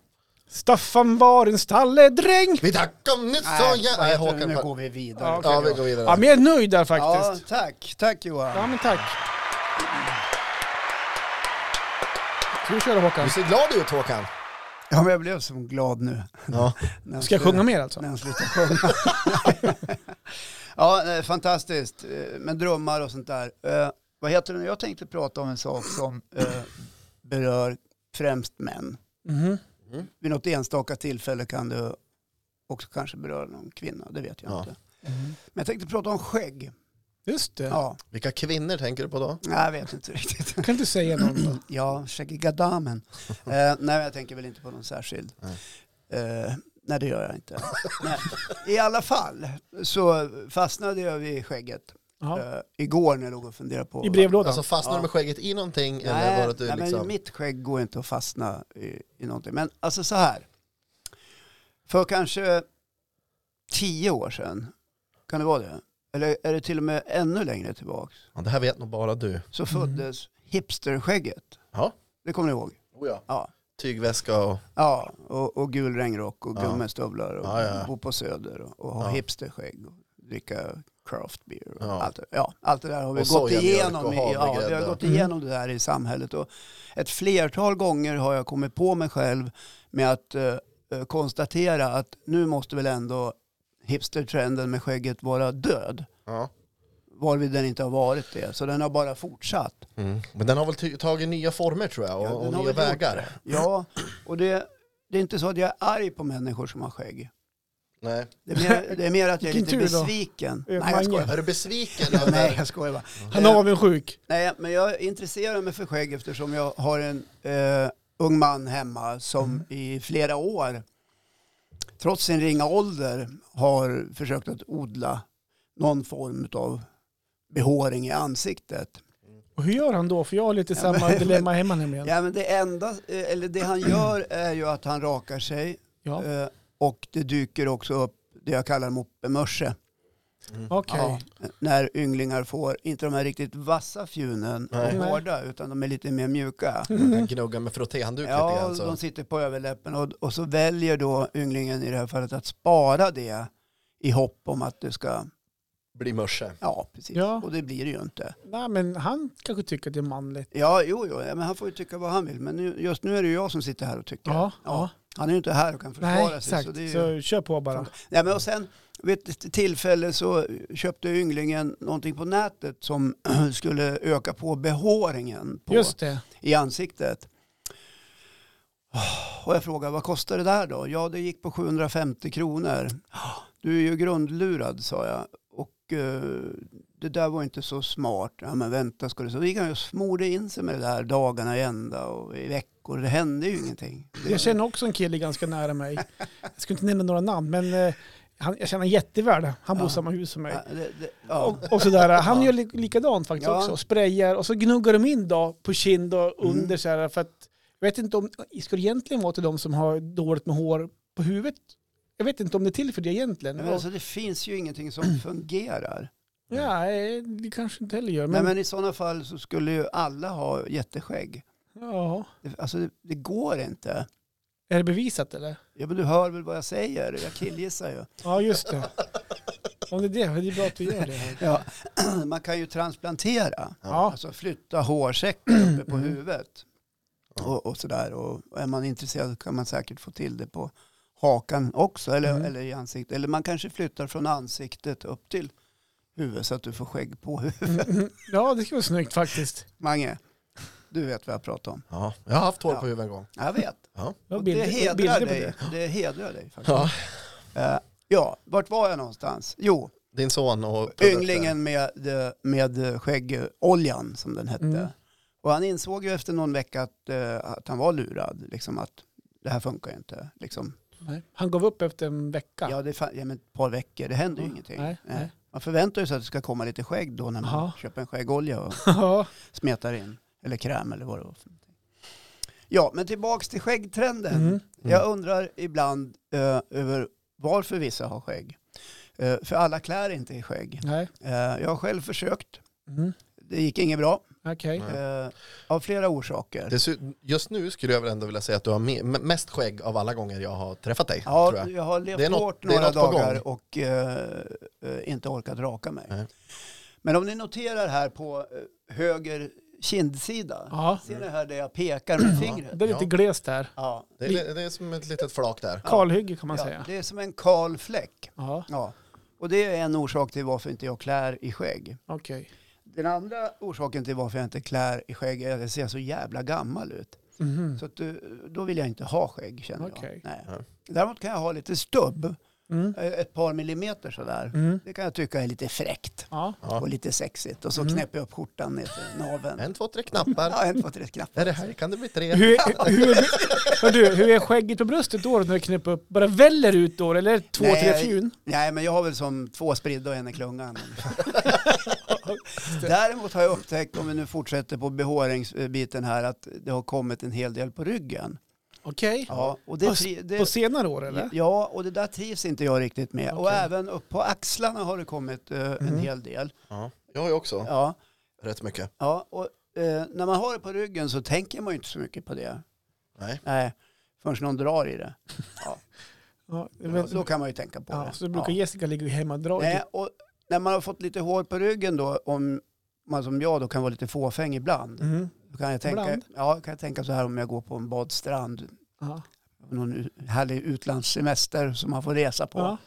A: Staffan var en stalledräng.
C: Vi tackar om ni sa
B: Nej,
C: ja.
B: vad
C: Nej,
B: heter det?
C: Håkan.
B: nu
C: Ja,
B: går vi vidare.
A: okej.
C: vi går vidare.
A: Ja, men jag är nöjd där
B: Ja,
A: faktiskt.
B: tack. Tack Johan.
A: Ja, men tack. Ska vi köra Håkan?
C: Du ser glad ut Håkan.
B: Ja, men jag blev så glad nu.
C: Ja.
B: När han
A: Ska jag
B: slutade-
A: sjunga mer alltså?
B: När han slutade sjunga. *laughs* ja, eh, fantastiskt. Eh, Men drömmar och sånt där. Eh, Vad heter det? nu? Jag tänkte prata om en sak som eh, berör främst män.
A: Mhm.
B: Vid något enstaka tillfälle kan det också kanske beröra någon kvinna. Det vet jag
C: Ja.
B: inte. Men jag tänkte prata om skägg.
A: Just det.
B: Ja,
C: Vilka kvinnor tänker du på då?
B: nej, jag vet inte riktigt.
A: Kan du säga någon då?
B: Ja,
C: *laughs*
B: Shagigadamen. eh, nej, men jag tänker väl inte på någon särskild.
C: Nej.
B: Eh, nej, det gör jag inte. nej. I alla fall så fastnade jag vid skägget
A: Ja.
B: eh, igår när jag låg och funderade på...
A: I brevlådan?
C: Alltså fastnar du
B: Ja.
C: med skägget i någonting eller
B: Nej,
C: var det du
B: nej men
C: liksom...
B: mitt skägg går inte att fastna i, i någonting. Men alltså så här. För kanske tio år sedan, kan det vara det? Eller är det till och med ännu längre tillbaks?
C: Ja, det här vet nog bara du.
B: Så
A: Mm.
B: föddes hipsterskägget.
C: Ja.
B: Det kommer ni ihåg?
C: Oh, ja.
B: Ja.
C: Tygväska och...
B: Ja, och, och gul regnrock och
C: Ja.
B: gummistövlar och
C: Ja, ja.
B: bo på söder och, och ha
C: Ja.
B: hipsterskägg och dricka craft beer. Och
C: Ja.
B: allt, det- ja, allt det där har vi
C: Och
B: gått
C: sojamjölk
B: igenom,
C: och
B: i, ja, vi har
C: havregrädde. Mm.
B: gått igenom det där i samhället. Och ett flertal gånger har jag kommit på mig själv med att eh, eh, konstatera att nu måste väl ändå hipstertrenden med skägget vara död.
C: Ja.
B: Varvid den inte har varit det. Så den har bara fortsatt.
C: Mm. Men den har väl ty- tagit nya former tror jag och,
B: Ja, den
C: och
B: har
C: nya
B: väl gjort
C: vägar.
B: Ja, och det, det är inte så att jag är arg på människor som har skägg.
C: Nej.
B: Det är, mer, det är mer att jag är lite
A: Vilken tur då.
B: besviken.
A: Eh,
B: Nej, jag
A: Mange.
B: skojar. bara.
C: Är du besviken?
B: *laughs*
C: över-
B: Nej, jag skojar bara.
A: *laughs*
B: Eh,
A: Han är avundsjuk.
B: Nej, men jag intresserar mig för skägg eftersom jag har en eh, ung man hemma som
A: Mm.
B: i flera år, trots sin ringa ålder, har försökt att odla någon form av behåring i ansiktet.
A: Och hur gör han då? För jag har lite samma
B: men-
A: dilemma hemma nämligen.
B: Ja, men det enda, eh, eller det
A: *clears throat*
B: han gör är ju att han rakar sig
A: Ja,
B: eh, och det dyker också upp det jag kallar moppemörse.
A: okej.
B: Ja, när ynglingar får, inte de här riktigt vassa fjunen
C: Nej.
B: och hårda, utan de är lite mer mjuka.
C: Mm. Gnugga med frottéhandduk
B: Ja,
C: lite grann. Så.
B: de sitter på överläppen och, och så väljer då ynglingen i det här fallet att spara det i hopp om att det ska,
C: Blir mörse.
B: ja precis,
A: Ja.
B: och det blir det ju inte.
A: Nej, men han kanske tycker att det är manligt.
B: Ja, jo, jo, ja, men han får ju tycka vad han vill, men nu, just nu är det ju jag som sitter här och tycker.
A: Ja, ja.
B: Han är ju inte här och kan försvara
A: Nej,
B: sig.
A: exakt.
B: Så
A: Så,
B: det är ju...
A: kör på bara.
B: Nej, men och sen vid ett tillfälle så köpte ynglingen någonting på nätet som *clears throat* skulle öka på behåringen på,
A: Just det.
B: i ansiktet. Och jag frågade, vad kostar det där då? Ja, det gick på 750 kronor. Du är ju grundlurad, sa jag. Och eh, det där var inte så smart. Ja, men vänta, ska du så. Vi kan ju smorde in sig med det där dagarna i ända och i veckor. Det hände ju ingenting. Det-
A: Jag känner också en kille ganska nära mig. Jag ska inte nämna några namn, men eh, han, jag känner en jättevärd. Han bor i
B: Ja.
A: samma hus som mig.
B: Ja, det, det, ja.
A: Och, och sådär. Han
B: Ja.
A: gör li- likadant faktiskt
B: Ja.
A: också. Sprayar och så gnuggar de in då på kind och under
B: Mm.
A: så här. För att, jag vet inte om det skulle egentligen vara till de som har dåligt med hår på huvudet. Jag vet inte om det är till för det egentligen.
B: Men alltså, det finns ju ingenting som
A: *clears throat*
B: fungerar.
A: ja, eh, det kanske inte heller gör.
B: Men,
A: Men,
B: men i sådana fall så skulle ju alla ha jätteskägg.
A: Ja.
B: Det- Alltså det, det går inte.
A: Är det bevisat eller?
B: Ja, men du hör väl vad jag säger? Jag
A: *clears throat*
B: killgissar ju.
A: Ja, just det. Om det är det, det är bra att du gör det.
B: Ja. *clears throat* Man kan ju transplantera,
A: Ja,
B: alltså flytta hårsäckar uppe på
A: Mm.
B: huvudet. Och, och sådär. Och är man intresserad kan man säkert få till det på hakan också, eller,
A: Mm.
B: eller i ansiktet. Eller man kanske flyttar från ansiktet upp till huvudet så att du får skägg på huvudet.
A: Mm, ja det skulle vara snyggt faktiskt.
B: Mange, du vet vad jag pratar om.
C: Ja. Jag har haft hår
B: Ja.
C: på huvudet en gång.
B: Jag vet.
A: Jag har
B: Och
A: bilder-
B: det hedrar
A: bilder på
B: dig.
A: det.
B: Det. hedrar dig faktiskt. Ja. ja, vart var jag någonstans? Jo,
C: Din son och produkter.
B: ynglingen med, eh, med skäggoljan som den hette.
A: Mm.
B: Och han insåg ju efter någon vecka att, eh, att han var lurad. Liksom att det här funkar ju inte. Liksom.
A: Nej, Han gav upp efter en vecka.
B: Ja, det fan, ja, men ett par veckor, det händer ju
A: Ja,
B: ingenting.
A: nej,
B: Nej.
A: nej.
B: Man förväntar ju sig att det ska komma lite skägg då när man
A: Jaha.
B: köper en skäggolja och
A: Ja.
B: smetar in. Eller kräm eller vad det var. för någonting. Ja, men tillbaks till skäggtrenden.
A: Mm.
C: Mm.
B: Jag undrar ibland eh, över varför vissa har skägg. Eh, för alla klär inte i skägg.
A: Nej.
B: Eh, jag har själv försökt.
A: Mm.
B: Det gick inget bra.
A: Okej.
C: Nej.
B: Eh, av flera orsaker.
C: Dessu- Just nu skulle jag väl ändå vilja säga att du har me- m- mest skägg av alla gånger jag har träffat dig.
B: Ja,
C: tror jag.
B: jag. har levt
C: Det är något-
B: hårt
C: det är
B: några
C: något på
B: dagar och eh, eh, inte orkat raka mig.
C: Nej.
B: Men om ni noterar här på eh, höger kindsida.
A: Ja.
B: Ser ni här där jag pekar med
A: Det
B: fingret?
A: är lite glest där.
B: Ja,
C: Det, är, det är som ett litet flak där.
A: Kalhygge kan man
B: ja,
A: säga.
B: det är som en kal fläck.
A: Ja,
B: Ja. Och det är en orsak till varför inte jag klär i skägg.
A: okej.
B: Den andra orsaken till varför jag inte klär i skägg är att jag ser så jävla gammal ut.
A: Mhm.
B: Så att, du- då vill jag inte ha skägg känner
A: Okej.
B: jag. Nej.
C: Ja.
B: Däremot kan jag ha lite stubb,
A: Mm.
B: eh, ett par millimeter sådär.
A: Mm.
B: Det kan jag tycka är lite fräckt
A: Ja.
C: Ja.
B: och lite sexigt. Och så
A: Mm.
B: knäpper jag upp skjortan ner till naveln.
C: En, två, tre knappar.
B: Ja, en, två, tre knappt.
C: Är det här kan det bli tre.
A: Hur, hur, hur, hör du, hur är skägget på bröstet då när du knäpper upp? Bara väller ut då eller är det två,
B: Nej,
A: tre
B: jag-
A: fjun?
B: Nej, men jag har väl som två spridda och en
A: *laughs*
B: i klungan. Däremot har jag upptäckt, om vi nu fortsätter på behåringsbiten här, att det har kommit en hel del på ryggen.
A: Okej.
B: Ja, och det,
A: På-
B: fri- det,
A: På senare år eller?
B: Ja, och det där trivs inte jag riktigt med. Och
A: Okej. Mm.
B: även upp på axlarna har det kommit eh, en hel del.
C: Ja. Jag har ju också
B: Ja,
C: rätt mycket.
B: ja och eh, när man har det på ryggen så tänker man ju inte så mycket på det.
C: Nej.
B: Nej, förrän någon drar i det.
A: Ja,
B: Ja,
A: men,
B: så kan man ju tänka på
A: ja,
B: det.
A: så brukar
B: ja.
A: Jessica ligga hemma och dra.
B: Nej, Eh, och när man har fått lite hår på ryggen då, om man som jag då kan vara lite fåfäng ibland,
A: Mm.
B: då kan jag tänka,
A: Ibland?
B: ja, kan jag tänka så här om jag går på en badstrand,
A: Ja.
B: någon u- härlig utlandssemester som man får resa på,
A: Ja.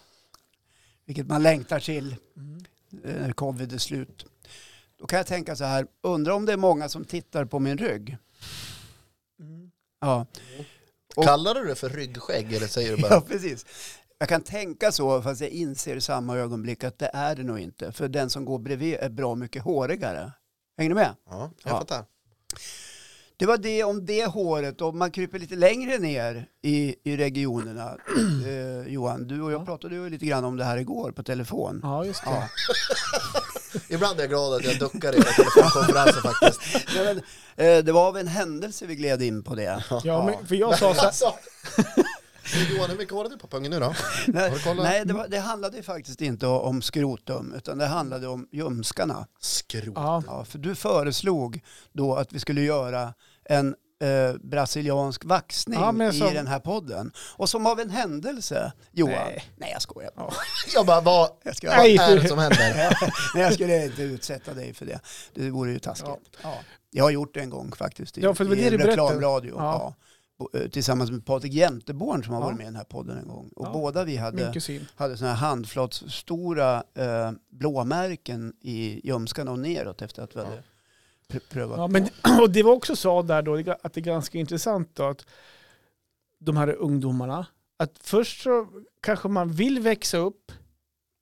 B: vilket man längtar till.
A: Mm.
B: eh, när covid är slut. Då kan jag tänka så här, undrar om det är många som tittar på min rygg.
A: Mm.
B: Ja, Och-
C: Kallar du det för ryggskägg eller säger
B: *laughs*
C: du
B: ja
C: bara
B: precis. Jag kan tänka så, fast jag inser i samma ögonblick att det är det nog inte. För den som går bredvid är bra mycket hårigare. Hänger du med?
C: ja,
B: Ja.
C: jag fattar.
B: Det var det om det håret. Om man kryper lite längre ner i, i regionerna, *clears throat* eh, Johan, du och jag
A: Ja.
B: pratade ju lite grann om det här igår på telefon.
A: Ja, just det.
B: Ja.
C: Ibland är jag glad att jag duckar i telefonkonferensen faktiskt.
B: Nej, men, eh, det var av en händelse vi gled in på det.
A: Ja, men för jag sa så här,
C: Alltså. Johan, hur mycket har du på pungen nu då?
B: Nej,
C: Har du kollat?
B: nej det, var, det handlade ju faktiskt inte om skrotum, utan det handlade om ljumskarna.
C: Skrot.
A: ja,
B: Ja, för du föreslog då att vi skulle göra en eh, brasiliansk vaxning
A: Ja, men som-
B: i den här podden. Och som av en händelse, Johan.
A: Nej.
B: Nej, jag skojar.
C: Jag bara, vad,
B: Jag ska,
C: vad
A: Nej.
C: är det som händer?
B: *laughs* nej, jag skulle inte utsätta dig för det. Det vore ju taskigt.
A: Ja.
B: Ja. Jag har gjort det en gång faktiskt i,
A: Ja, för det var
B: i
A: det du
B: en
A: berättade.
B: reklamradio.
A: Ja.
B: Ja. Bo- eh, Tillsammans med Patrik Jenteborn som har
A: Ja.
B: varit med i den här podden en gång. Och
A: Ja.
B: båda vi hade
A: min kusin.
B: hade såna här handflatsstora eh, blåmärken i ljumskarna och neråt efter att vi hade pr- prövat.
A: Ja, men, *clears throat* och det var också så där då, att det är ganska intressant då, att de här ungdomarna, att först så kanske man vill växa upp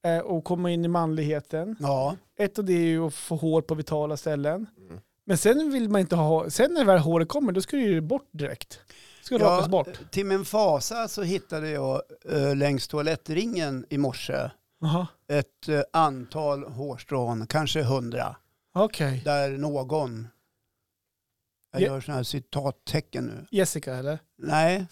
A: eh, och komma in i manligheten.
B: Ja,
A: Ett av det är ju att få hår på vitala ställen.
C: Mm.
A: Men sen vill man inte ha, sen när väl håret kommer då ska det ju bort direkt. Det ska rakas
B: ja, eh,
A: bort.
B: till min fasa så hittade jag eh, längs toalettringen i morse
A: Jaha,
B: ett eh, antal hårstrån, kanske hundra,
A: okej.
B: där någon, jag
A: Ja.
B: gör sådana här citattecken nu,
A: Jessica eller?
B: nej,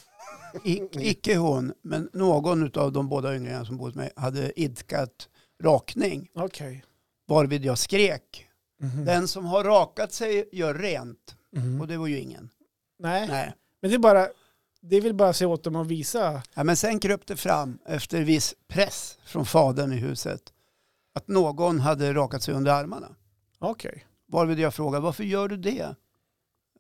B: ic- icke hon, men någon av de båda ynglingarna som bodde med mig hade idkat rakning,
A: Okej.
B: varvid jag skrek
A: Mhm.
B: Den som har rakat sig gör rent.
A: Mhm.
B: Och det var ju ingen.
A: Nej.
B: Nej.
A: men det är bara, det vill bara se åt dem att visa.
B: Ja, men sen kröp det fram efter viss press från fadern i huset att någon hade rakat sig under armarna.
A: Okej.
B: Varvid jag frågade, varför gör du det?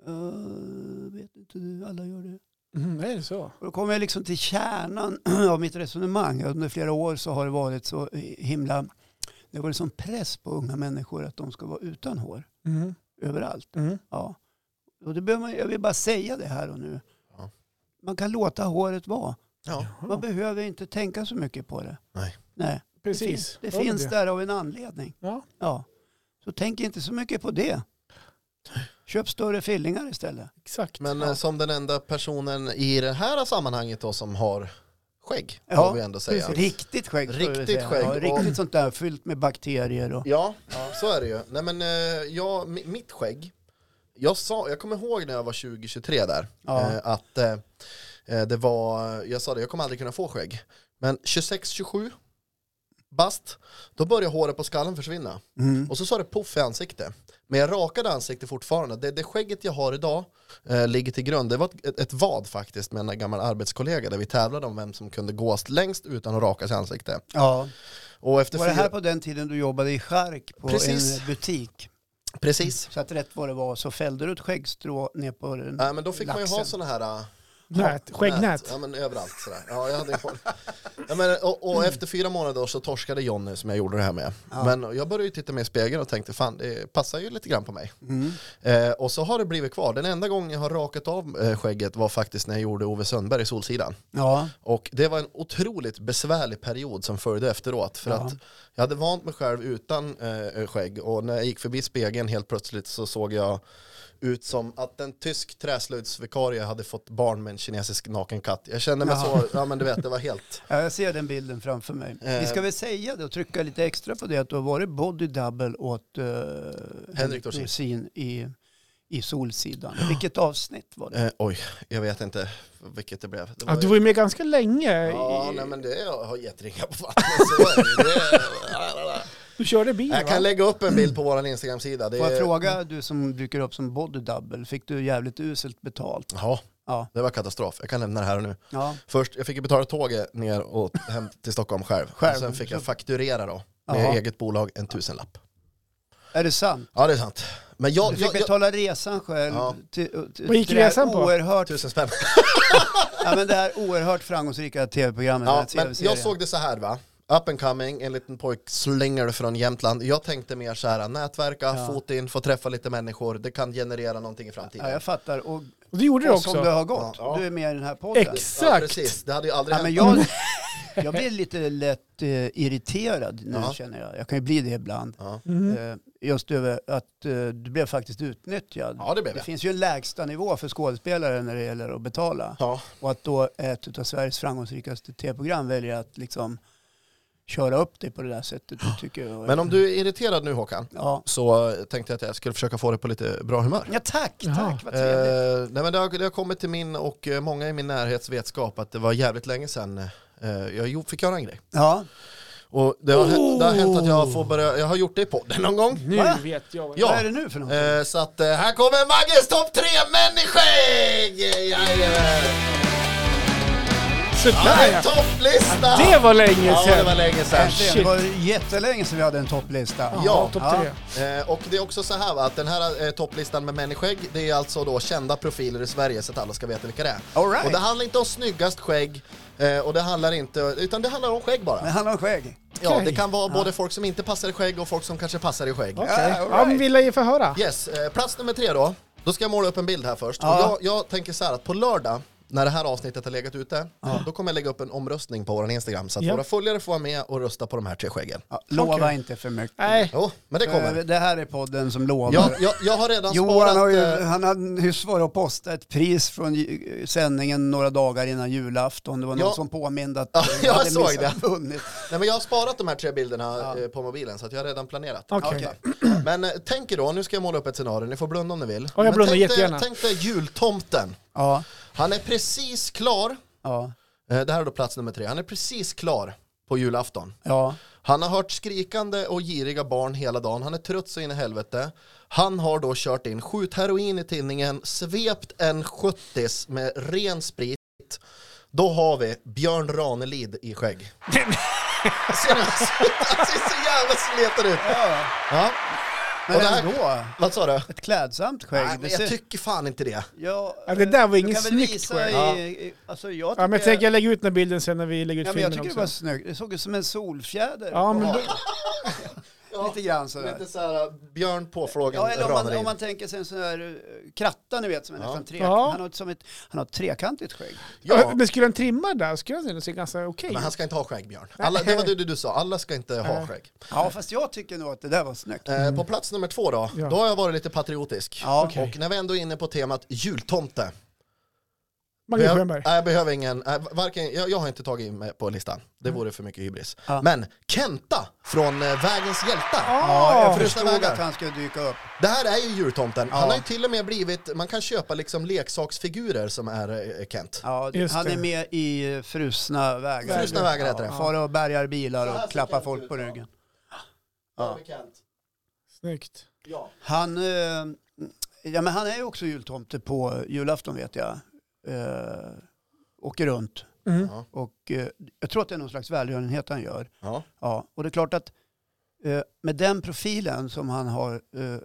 B: "Eh, vet inte du, alla gör det.
A: Mhm, är det så?
B: Och då kommer jag liksom till kärnan *clears throat* av mitt resonemang. Under flera år så har det varit så himla, det har varit sån press på unga människor att de ska vara utan hår
A: Mhm.
B: överallt.
A: Mhm.
B: Ja. Och det behöver man, jag vill bara säga det här och nu.
C: Ja.
B: Man kan låta håret vara.
C: Ja.
B: Man behöver inte tänka så mycket på det.
C: Nej.
B: Nej. Det,
A: Precis.
B: finns, det
A: Ja, men
B: finns där av en anledning.
A: Ja.
B: Ja. Så tänk inte så mycket på det. Köp större fillingar istället.
A: Exakt.
C: Men eh, som den enda personen i det här sammanhanget då som har skägg,
B: Ja,
C: får vi ändå säga.
A: precis.
B: Riktigt skägg. ska jag
C: Riktigt
B: säga.
C: skägg.
B: Ja,
C: Och-
B: riktigt sånt där fyllt med bakterier. Och...
C: Ja, så är det ju. Nej men eh, jag, mi- mitt skägg, jag, sa, jag kommer ihåg när jag var 20-23 där,
B: Ja.
C: eh, att eh, eh, det var, jag sa det, jag kommer aldrig kunna få skägg. Men 26-27, bast, då började håret på skallen försvinna.
B: Mm.
C: Och så sa det poff i ansiktet. Men jag rakade ansiktet fortfarande. Det, det skägget jag har idag eh, ligger till grund. Det var ett, ett vad faktiskt med en gammal arbetskollega där vi tävlade om vem som kunde gås längst utan att raka sig i ansiktet.
B: Ja.
C: Och efter
B: Var det här
C: fyra-
B: på den tiden du jobbade i skärk på
C: Precis.
B: en butik?
C: Precis.
B: Så att rätt vad det var så fällde du ett skäggstrå ner på den.
C: Nej men då fick man ju ha
B: Laxen.
C: såna här... äh,
A: Nät, skäggnät.
C: Ja men överallt sådär. Ja, jag hade koll. ja, men, och, och efter fyra månader så torskade Jonny som jag gjorde det här med.
B: Mm. Ja.
C: Men jag började ju titta mig i spegeln och tänkte fan det passar ju lite grann på mig.
B: Mm.
C: Eh, och så har det blivit kvar. Den enda gången jag har rakat av eh, skägget var faktiskt när jag gjorde Ove Sundberg i Solsidan.
B: Ja.
C: Och det var en otroligt besvärlig period som följde efteråt. För
B: Ja.
C: att jag hade vant mig själv utan eh, skägg och när jag gick förbi spegeln helt plötsligt så såg jag ut som att en tysk träslöjdsvikarie hade fått barn med en kinesisk naken katt. Jag kände mig
B: Jaha.
C: så, ja men du
A: *laughs*
C: vet det var helt...
B: Ja, jag ser den bilden framför mig.
C: Eh.
B: Vi ska väl säga det och trycka lite extra på det att du har varit body double åt eh, Henrik
C: Dorsin.
B: Dorsin i, i Solsidan. Vilket avsnitt var det?
C: Eh, oj, jag vet inte vilket det blev. Det
A: Ja, du var ju med ganska länge.
C: Ja,
A: i-
C: nej men det har gett ringar på vattnet. Så är det. Det...
A: Du körde bil
C: Jag
A: va?
C: kan lägga upp en bild på vår Instagram-sida. Det
B: Får jag
C: är...
B: fråga, du som dyker upp som body double, fick du jävligt uselt betalt?
C: Ja,
B: Ja.
C: det var katastrof. Jag kan lämna det här och nu.
B: ja.
C: Först, jag fick ju betala tåget ner och hem till Stockholm själv.
B: Själv?
C: Och sen fick jag fakturera då, med
B: Jaha.
C: eget bolag, en tusenlapp.
B: Är det sant?
C: Ja det är sant. Men jag,
B: Du fick
C: jag, jag
B: betala resan själv.
C: Ja.
B: Till, till,
A: Vad gick
B: till det här
A: resan på?
B: Oerhört,
C: tusen spänn.
B: ja, men det här oerhört framgångsrika tv-programmet. den här
C: Ja, men
B: TV-serien.
C: jag såg det så här va. Up and coming, en liten pojkslängare från Jämtland. Jag tänkte mer så här, nätverka,
B: Ja.
C: fot in, få träffa lite människor. Det kan generera någonting i framtiden.
B: Ja, jag fattar. Och,
A: Och det gjorde du
B: och som det
A: också.
B: har gått.
C: Ja, ja.
B: Du är med i den här podden.
C: Ja,
A: Exakt.
C: precis. Det hade ju aldrig
B: Ja, men
C: hänt.
B: jag, Jag blir lite lätt eh, irriterad nu
C: Ja.
B: känner jag. Jag kan ju bli det ibland.
C: Ja.
A: Mm.
B: Eh, just över att eh, du blev faktiskt utnyttjad.
C: ja, det blev
B: Det
C: jag.
B: finns ju en lägsta nivå för skådespelare när det gäller att betala.
C: Ja,
B: Och att då ett av Sveriges framgångsrikaste tv-program väljer att liksom köra upp dig på det där sättet. Det tycker jag.
C: men om du är irriterad nu Håkan,
B: Ja,
C: så eh, tänkte jag att jag skulle försöka få dig på lite bra humör.
B: ja tack,
A: Jaha.
B: tack, vad trevligt.
C: Eh, nej, men det, har, det har kommit till min och eh, många i min närhets vetskap att det var jävligt länge sedan eh, jag gjorde- fick göra en grej.
B: Ja,
C: Och det har, hänt, det har hänt att jag
A: Oh.
C: får börja, jag har gjort det i podden någon gång.
A: Nu
B: Va?
A: vet jag. vad-
C: Ja.
B: vad är det nu för något?
C: Eh, så att eh, här kommer Magges topp 3 människoskägg! Jajamän! Ja,
A: Sådär
C: en
A: ja.
C: topplista!
A: Det var länge
C: Ja, det var
A: sedan.
C: länge sedan.
B: Äntligen, Eh, det
A: shit.
B: var jättelänge sedan vi hade en topplista.
C: Ja.
A: topp
B: Ja.
A: tre.
C: Eh, och det är också så här va, att den här eh, topplistan med människoskägg, det är alltså då kända profiler i Sverige så att alla ska veta vilka det är.
B: All right.
C: Och det handlar inte om snyggast skägg, eh, och det handlar inte, utan det handlar om skägg bara.
B: Men han har skägg.
C: Ja,
A: Okej.
C: det kan vara både folk som inte passar i skägg och folk som kanske passar i skägg.
A: Okej.
B: all
A: Ja, men
B: right.
A: vill jag ju få höra.
C: Yes, eh, plats nummer tre då. Då ska jag måla upp en bild här först.
B: Ja.
C: Och jag, jag tänker så här att på lördag, när det här avsnittet har legat ute, då kommer jag lägga upp en omröstning på vår Instagram så att
A: Ja.
C: våra följare får vara med och rösta på de här tre skäggen.
B: Ja, lova
A: Okej.
B: inte för mycket.
A: Nej.
C: Jo, men det
B: Eh,
C: kommer.
B: Det här är podden som lovar.
C: Jag, jag, jag har redan
B: Johan
C: sparat...
B: har ju,
C: eh,
B: han har nyss varit och postat ett pris från ju- sändningen några dagar innan julafton. Det var
C: Ja.
B: någon som påminde att
C: Ja,
B: han
C: jag
B: hade
C: såg
B: missat
C: *laughs*
B: vunnit.
C: Nej, men jag har sparat de här tre bilderna
B: Ja.
C: eh, på mobilen så att jag har redan planerat.
A: Okej.
B: Okej.
C: *clears throat* Men eh, tänk er då, nu ska jag måla upp ett scenario, ni får blunda om ni vill.
A: jag
C: Men
A: blundar
C: tänk dig-
A: jättegärna.
C: Tänk dig jultomten.
B: Ja,
C: Han är precis klar,
B: ja,
C: eh, det här är då plats nummer tre, han är precis klar på julafton.
B: ja.
C: Han har hört skrikande och giriga barn hela dagen. Han är trött så in i helvete. Han har då kört in skjut heroin i tinningen, svept en 70 med ren sprit. Då har vi Björn Ranelid
A: *laughs*
C: i skägg. Ser ni? Han ser så jävla sleten ut.
B: ja.
C: Ja.
B: Men
C: Och det här-
B: ändå,
C: Vad sa du?
B: ett klädsamt skägg.
C: Nej, men
B: Det
C: jag
B: ser-
C: tycker fan inte det.
B: ja,
A: Ja, Alltså, det där var
B: du
A: ingen
B: kan väl
A: snyggt
B: visa
A: skägg.
B: i-
C: Ja.
B: i- Alltså jag tycker...
A: Ja, men jag tänker jag lägga ut den här bilden sen när vi lägger ut
B: Ja, men jag
A: filmen
B: tycker det
A: också.
B: var snyggt. Det såg ut som en solfjäder.
A: Ja,
B: på
A: men
B: havet.
C: *laughs*
B: Lite grann sådär.
C: Lite såhär Björn påfrågan
B: Ja, eller om man,
C: Ranelid.
B: om man tänker sig en sån här eh, kratta, ni vet, som är
C: Ja.
B: nästan tre,
A: Ja.
B: han, har ett, som ett, han har ett trekantigt skägg.
A: Ja.
C: Ja.
A: Men skulle han trimma där skulle han se ganska okej
C: Men han
A: ut.
C: ska inte ha skägg Björn. Alla, det var det du sa, alla ska inte ha
A: Nej.
C: skägg.
B: Ja, fast jag tycker nog att det där var snyggt.
C: Eh, På plats nummer två då,
A: Ja.
C: då har jag varit lite patriotisk.
B: Ja,
A: Okej.
C: Och när vi ändå är inne på temat jultomte.
A: Magnus
C: jag,
A: Sjöberg.
C: nej, jag behöver ingen, nej, varken, jag, jag har inte tagit in mig på listan. Det vore för mycket hybris.
B: Ja.
C: Men Kenta från eh, Vägens hjältar.
A: Ah!
B: Ja, jag
C: för-
B: förstod
C: vågar.
B: att han skulle dyka upp.
C: Det här är ju jultomten.
B: Ja.
C: Han har ju till och med blivit, man kan köpa liksom leksaksfigurer som är eh, Kent.
B: Ja,
A: Just
B: han
A: det.
B: är med i Frusna vägar.
C: Frusna vägar heter det.
B: Ja, far och bärgar bilar och klappar
C: Kent
B: folk
C: ut,
B: på
C: ja.
B: ryggen.
C: Ja.
B: Ja.
A: Snyggt.
C: Ja.
B: Han, eh, ja, men han är ju också jultomte på julafton vet jag. Eh, åker runt.
A: Mm.
B: Och eh, jag tror att det är någon slags välgörenhet han gör.
C: Ja.
B: Ja, och det är klart att eh, med den profilen som han har eh,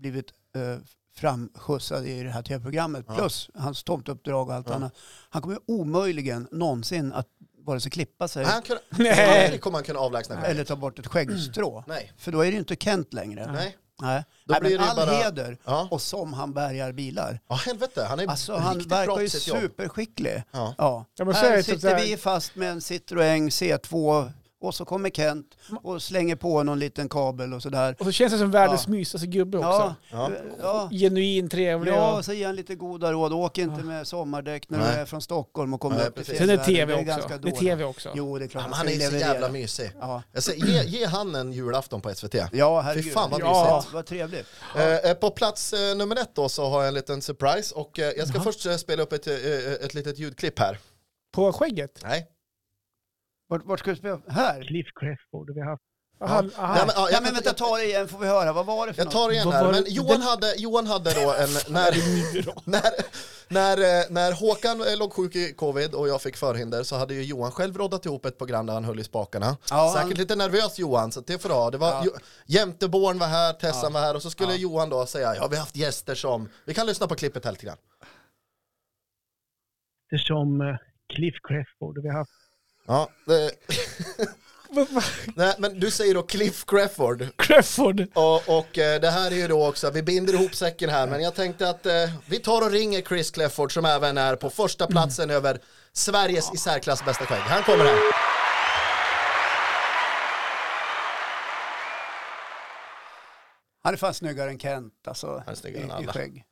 B: blivit eh, framskjutsad i det här tv-programmet,
C: Ja.
B: plus hans tomteuppdrag och allt
C: Ja.
B: annat, han kommer ju omöjligen någonsin att vare sig klippa sig
C: Han kunde,
A: Nej.
C: aldrig kommer han kunna avlägsna skägget.
B: eller ta bort ett skäggstrå.
C: Nej.
B: För då är det ju inte Kent längre.
C: Nej.
B: Nej.
C: Då
B: Nej,
C: blir
B: men
C: det ju
B: all
C: bara...
B: heder
C: Ja.
B: och som han bärgar bilar.
C: ja, helvete. Han är
B: Alltså han
C: riktigt
B: verkar
C: bra
B: ju
C: på sitt jobb.
B: superskicklig.
C: Ja.
B: Ja.
A: Ja, men så är
B: här
A: det typ så
B: sitter
A: här-
B: vi fast med en Citroën C2 och så kommer Kent och slänger på någon liten kabel och sådär.
A: Och så känns det som världens
B: Ja.
A: mysigaste gubbe
B: Ja,
A: också.
C: Ja.
B: ja. ja.
A: Genuin, trevlig
B: Ja,
A: och...
B: och så ger han lite goda råd. Åk inte med sommardäck när du
C: Nej.
B: är från Stockholm och kommer
C: Nej,
B: upp till
C: precis.
A: Sen är det
B: fjällvärlden.
A: tv
B: är
A: också.
B: ganska
A: Det är
B: dåligt.
A: tv också.
B: Jo, det är klart.
C: Ja, men
B: man
C: han är
B: ska
C: ju så
B: leverera.
C: jävla mysig.
B: Ja,
C: Jag säger, ge, ge han en julafton på SVT.
B: ja herregud.
C: Fy fan, vad
B: ja.
A: mysigt.
B: Vad trevligt.
C: Eh, eh, på plats eh, nummer ett då så har jag en liten surprise och eh, jag ska först eh, spela upp ett, eh, eh, ett litet ljudklipp här.
A: På skägget?
C: Nej.
B: Vart, vart ska du spela? Här?
D: Cliff Crespo, vi har haft
A: Aha, aha.
C: men, ja,
B: Ja,
C: jag,
B: Ah. men
C: kan-
B: vänta, ta det igen får vi höra. Vad var det för
C: jag tar det igen
A: Vad
C: här.
A: var
C: Men
A: det-
C: Johan,
A: det-
C: hade, Johan hade då en... När, *laughs* när, när, eh, när Håkan eh, låg sjuk i covid och jag fick förhinder så hade ju Johan själv roddat ihop ett program där han höll i spakarna.
B: Ja,
C: Säkert
B: han-
C: lite nervös Johan, så det får du ha. Det var,
B: Ja.
C: Jo- Jämteborn var här, Tessan var här och så skulle Johan då säga ja vi har haft gäster som... Vi kan lyssna på klippet här lite grann.
D: det som eh, Cliff Crespo, vi har haft
C: Ja, det,
A: Vad fan,
C: Nej, men du säger då Cliff Crawford.
A: Crawford.
C: Och, och eh, det här är ju då också, vi binder ihop säcken här, men jag tänkte att eh, vi tar och ringer Chris Clefford som även är på första platsen över Sveriges i särklass bästa skägg. Han kommer här.
B: Han är fan snyggare än Kent alltså.
C: är snyggare
B: i-
C: än
B: i
C: alla.
B: skägg.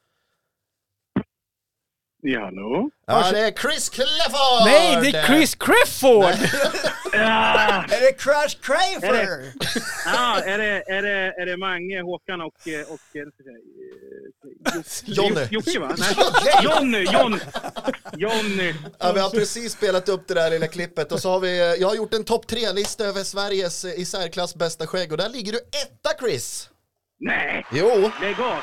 D: Ja, hallå?
C: Ja, det är Chris Clefford!
A: Nej, det är Chris Crawford!
D: Ah,
B: Är det Crash Craver?
D: ah, är, det, är, det, är det Mange, Håkan och... och, och eh,
C: *laughs* Jonny.
D: Jocke, va?
C: *laughs*
D: Nej, Jonny, Jonny! Jonny!
C: Ja, vi har precis spelat upp det där lilla klippet och så har vi, eh, jag har gjort en topp tre-lista över Sveriges eh, i särklass bästa skägg och där ligger du etta Chris!
D: Nej,
C: Jo!
D: lägg av!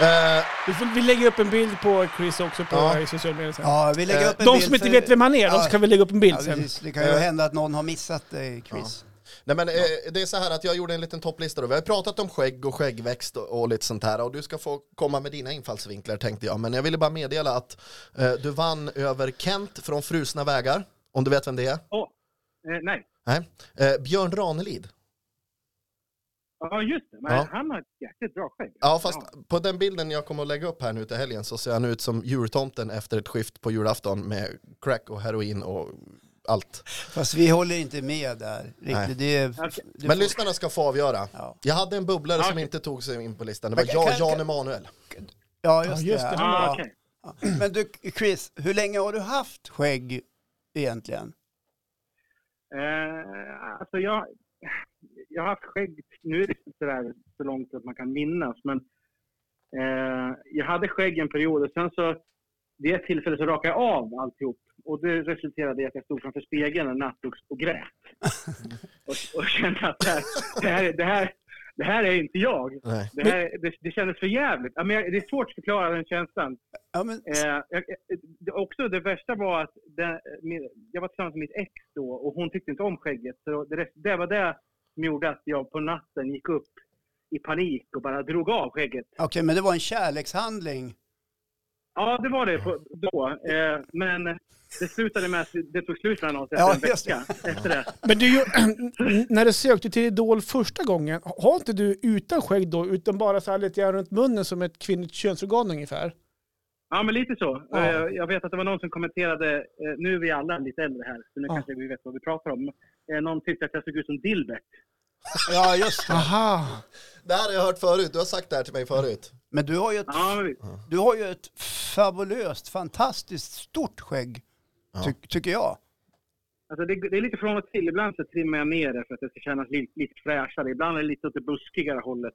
C: Eh,
A: Vi, får, vi lägger upp en bild på Chris också på
C: Ja.
A: i sociala medier sen.
B: Ja, vi lägger upp en
A: Eh, De
B: bild
A: som inte
B: för-
A: vet vem han är, de
B: Ja.
A: ska vi lägga upp en bild
B: Ja,
A: sen.
B: precis. Det kan ju hända att någon har missat dig, Chris.
C: Nej men eh, det är så här att jag gjorde en liten topplista då. Vi har ju pratat om skägg och skäggväxt och, och lite sånt här och du ska få komma med dina infallsvinklar tänkte jag. Men jag ville bara meddela att eh, du vann över Kent från Frusna vägar, om du vet vem det är.
D: Åh, eh, nej.
C: Nej. Eh, Björn Ranelid.
D: Ja, just det. Men
C: Ja.
D: han har ett jäkligt bra skägg.
C: Ja fast på den bilden jag kommer att lägga upp här nu till helgen så ser han ut som jultomten efter ett skift på julafton med crack och heroin och allt.
B: Fast vi håller inte med där. Riktigt. Det är,
D: Okej.
B: det
C: Men lyssnarna ska få avgöra.
B: Ja.
C: Jag hade en bubblare som
D: Okej.
C: inte tog sig in på listan. Det
B: Men
C: var
B: kan-
C: jag,
B: kan-
C: Jan
B: kan-
C: Emanuel.
B: Ja, just,
A: Ja, just
B: det.
A: det.
D: Ah,
B: Ja.
D: okej.
B: Men du, Chris, hur länge har du haft skägg egentligen?
D: Eh, alltså jag, jag har haft skägg, nu är det inte sådär så långt att man kan minnas, men eh, jag hade skägg en period och sen så vid ett tillfälle så rakade jag av alltihop och det resulterade i att jag stod framför spegeln en natt och, och grät. och, och kände att det här, det, här, är- det, här, det här är inte jag.
C: Nej.
D: Det, här, är- det, det kändes för jävligt. Ja, men jag, det är svårt att förklara den känslan.
B: Ja, men,
D: Eh, jag, jag- det, också det värsta var att den, min, jag var tillsammans med mitt ex då och hon tyckte inte om skägget. Så det, rest- det var det som gjorde att jag på natten gick upp i panik och bara drog av skägget.
B: okej, men det var en kärlekshandling.
D: Ja, det var det på, då. Eh, men det slutade med att det tog slut mellan oss efter
B: Ja,
D: en
B: just det.
D: vecka. Efter det.
A: Men du, *clears throat* ju- när du sökte till Idol första gången, har inte du utan skägg då, utan bara så här lite grann runt munnen som ett kvinnligt könsorgan ungefär?
D: Ja, men lite så.
A: Ja.
D: Eh, Jag vet att det var någon som kommenterade, eh, nu är vi alla lite äldre här, så nu
A: Ja.
D: kanske vi vet vad vi pratar om. Eh, Någon tyckte att jag såg ut som Dilbert.
B: Ja, just det.
A: Aha!
C: Det här har jag hört förut. Du har sagt det här till mig förut.
B: Men du har ju ett,
D: Ja, men,
B: du har ju ett fabulöst, fantastiskt stort skägg, ty, tycker jag.
D: Alltså det, det är lite från och till. Ibland så trimmar jag ner det för att det ska kännas li, lite fräschare. Ibland är det lite åt det buskigare hållet.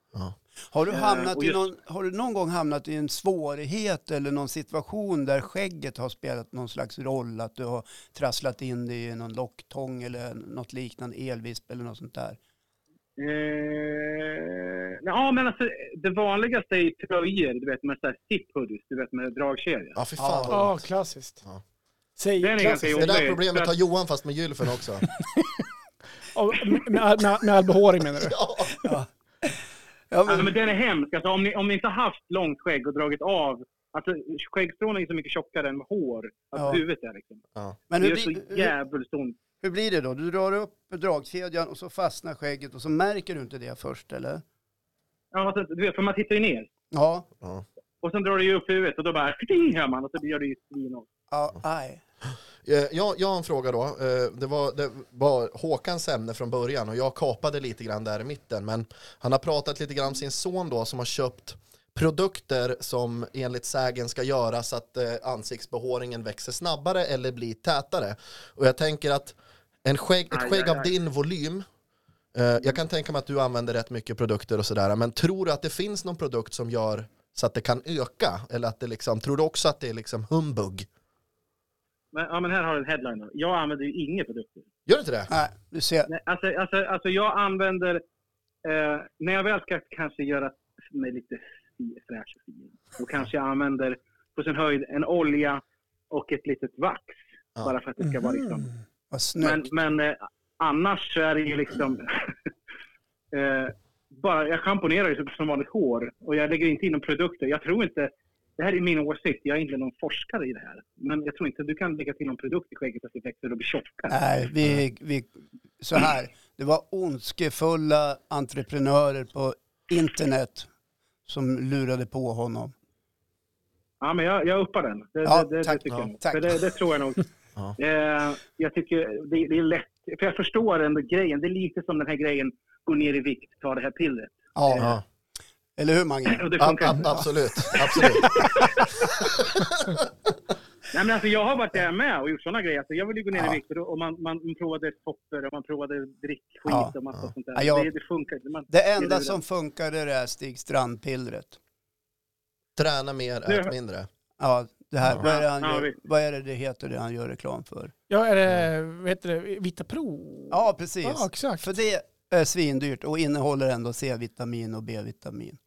B: Har du,
D: Eh,
B: hamnat
D: och
B: i
D: just-
B: någon, har du någon gång hamnat i en svårighet eller någon situation där skägget har spelat någon slags roll? Att du har trasslat in dig i någon locktång eller något liknande, elvisp eller något sånt där?
D: Eh, ja, men alltså det vanligaste är ju tröjor, du vet med så här zip hoodies, du vet med dragkedja.
C: Ja, fy fan. vad
A: Ja,
C: ont.
A: klassiskt.
C: Ja.
A: Säg,
D: Den är ganska
A: klassiskt.
C: Det där
D: Jobbigt, för
C: problemet
D: att-
C: har Johan fast med gylfen också.
A: Ja, Med, med, med, med all behåring menar du?
C: Ja.
B: Ja,
D: Alltså,
B: men,
D: men den är hemsk. Alltså, om, ni, om ni inte har haft långt skägg och dragit av. Alltså skäggstrån är ju så mycket tjockare än hår. Alltså
B: Ja.
D: huvudet är liksom.
B: men
D: Det
B: hur,
D: är så
B: blir- hur,
D: jävligt ont.
B: hur blir det då? Du drar upp dragkedjan och så fastnar skägget och så märker du inte det först eller?
D: Ja, alltså, du vet, för man tittar ju ner.
B: Ja,
D: Och sen drar det ju upp huvudet och då bara *laughs* ting hör man och så gör det ju svinont.
B: ja aj.
C: Eh, Jag, jag har en fråga då. Eh, Det var, det var Håkans ämne från början och jag kapade lite grann där i mitten. Men han har pratat lite grann om sin son då som har köpt produkter som enligt sägen ska göra så att eh, ansiktsbehåringen växer snabbare eller blir tätare. Och jag tänker att en skägg, ett
D: Aj,
C: skägg
D: aj,
C: av
D: aj.
C: din volym eh, jag kan tänka mig att du använder rätt mycket produkter och sådär, men tror du att det finns någon produkt som gör så att det kan öka? Eller att det liksom, tror du också att det är liksom humbug?
D: Men, ja, men här har du en headline. Då. Jag använder ju inga produkter.
C: Gör du inte det?
B: Nej, du ser.
D: Nej, alltså, alltså, alltså jag använder... Eh, när jag väl ska kanske göra mig lite fi- fräsch och fin, då kanske jag använder på sin höjd en olja och ett litet vax.
C: Ja.
D: Bara för att det ska vara liksom...
B: Vad
D: Men,
B: snyggt.
D: men eh, annars så är det ju liksom... *laughs* eh, bara, jag schamponerar ju som- som vanligt hår och jag lägger inte in några produkter. Jag tror inte... Det här är min åsikt. Jag är inte någon forskare i det här. Men jag tror inte du kan lägga till någon produkt i skägget så att det växer och blir tjockare.
B: Nej, vi, vi så här, det var ondskefulla entreprenörer på internet som lurade på honom.
D: Ja, men jag, jag uppar den. Det,
B: Ja,
D: det, det,
B: tack.
D: det tycker
C: Ja,
D: jag. nog.
B: tack.
D: För det, det
B: *laughs*
D: tror jag nog.
C: Ja.
D: Eh, jag tycker det, det är lätt. För jag förstår ändå grejen. Det är lite som den här grejen, gå ner i vikt, ta det här pillret. *laughs*
B: Ja,
C: Ja.
B: eller hur Mange?
D: Och det
C: Ab-
D: funkar.
C: ab- absolut, absolut.
D: Nej, men alltså, jag har varit där med och gjort sådana grejer. Alltså, jag ville ju gå ner
B: Ja.
D: i vikt och, då, och man, man, man provade sopper och man provade drickskit
B: Ja.
D: och massa sånt där.
B: Ja, jag-
D: det, det funkar inte. Man-
B: Det
D: det är
B: enda
D: det.
B: som funkade är det här Stig Strand-pillret.
C: Träna
D: *laughs*
C: mer, ät mindre.
B: Ja, det här,
C: Ja.
B: Vad, är det han
D: Ja,
B: gör,
D: visst.
B: vad är det det heter det han gör reklam för?
A: Ja, är det, vad heter det, Vita Pro?
B: Ja, precis.
A: Ja, exakt.
B: För det är svindyrt och innehåller ändå C-vitamin och B-vitamin.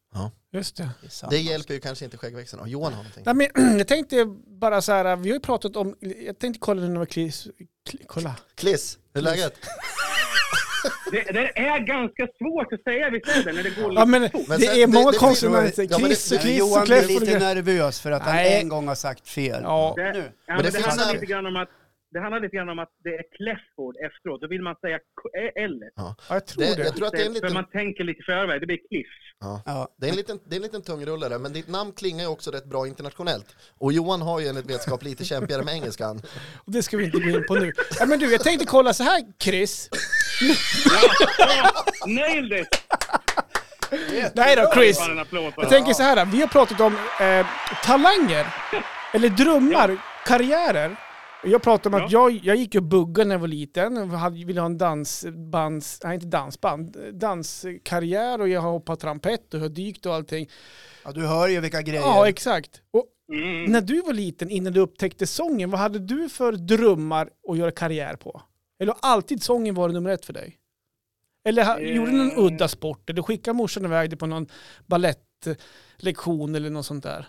A: Just det.
C: Det hjälper ju kanske inte skäggväxten. Har Johan har någonting?
A: Nej, men, *clears throat* jag tänkte bara så här, vi har ju pratat om, jag tänkte kolla nu när vi klis, kli- kolla.
C: Kliss, hur är läget?
D: Det, det är ganska svårt att säga vid tiden när det går
A: Ja men
C: Men
A: det
C: sen-
A: är många
C: det- det-
A: konsonanter,
C: det- ja, men det-
A: kliss och
C: det-
A: kliss
B: Johan
A: och
B: blir
A: kläff och
B: lite
A: grejer.
B: nervös för att han
A: Nej.
B: en gång har sagt fel.
A: Ja,
D: Det,
B: Nu.
D: ja,
B: Men
D: men
C: det
D: det,
C: finns
D: handlar
C: en-
D: lite grann om att det handlar lite grann om att det är kläfford efteråt. Då vill man säga k- ä- eller.
A: ja, jag tror
C: Det,
A: det.
C: jag tror att det är en
D: För
C: liten,
D: man tänker lite i förväg. Det blir kliff.
C: ja.
B: Ja.
C: det är en liten, det är en liten tungrullare, men ditt namn klingar ju också rätt bra internationellt. Och Johan har ju enligt vetskap lite kämpigare med engelskan.
A: Och det ska vi inte gå in på nu. Ja, men du, jag tänkte kolla så här Chris.
D: Nailed it!
A: Nej då Chris.
D: Bara en applåd för
A: Jag
D: det.
A: tänker så här, vi har pratat om eh, talanger, eller drömmar, karriärer. Jag pratade om att jag, jag gick ju och buggade när jag var liten. Jag hade- ville ha en dansbands, nej inte dansband, danskarriär och jag har hoppat trampett och har dykt och allting.
B: Ja, du hör ju vilka grejer.
A: Ja, exakt. Och
D: Mm.
A: när du var liten, innan du upptäckte sången, vad hade du för drömmar att göra karriär på? Eller har alltid sången varit nummer ett för dig? Eller ha,
D: Eh.
A: gjorde du någon udda sport? Eller skickade morsan iväg dig på någon ballettlektion eller något sånt där?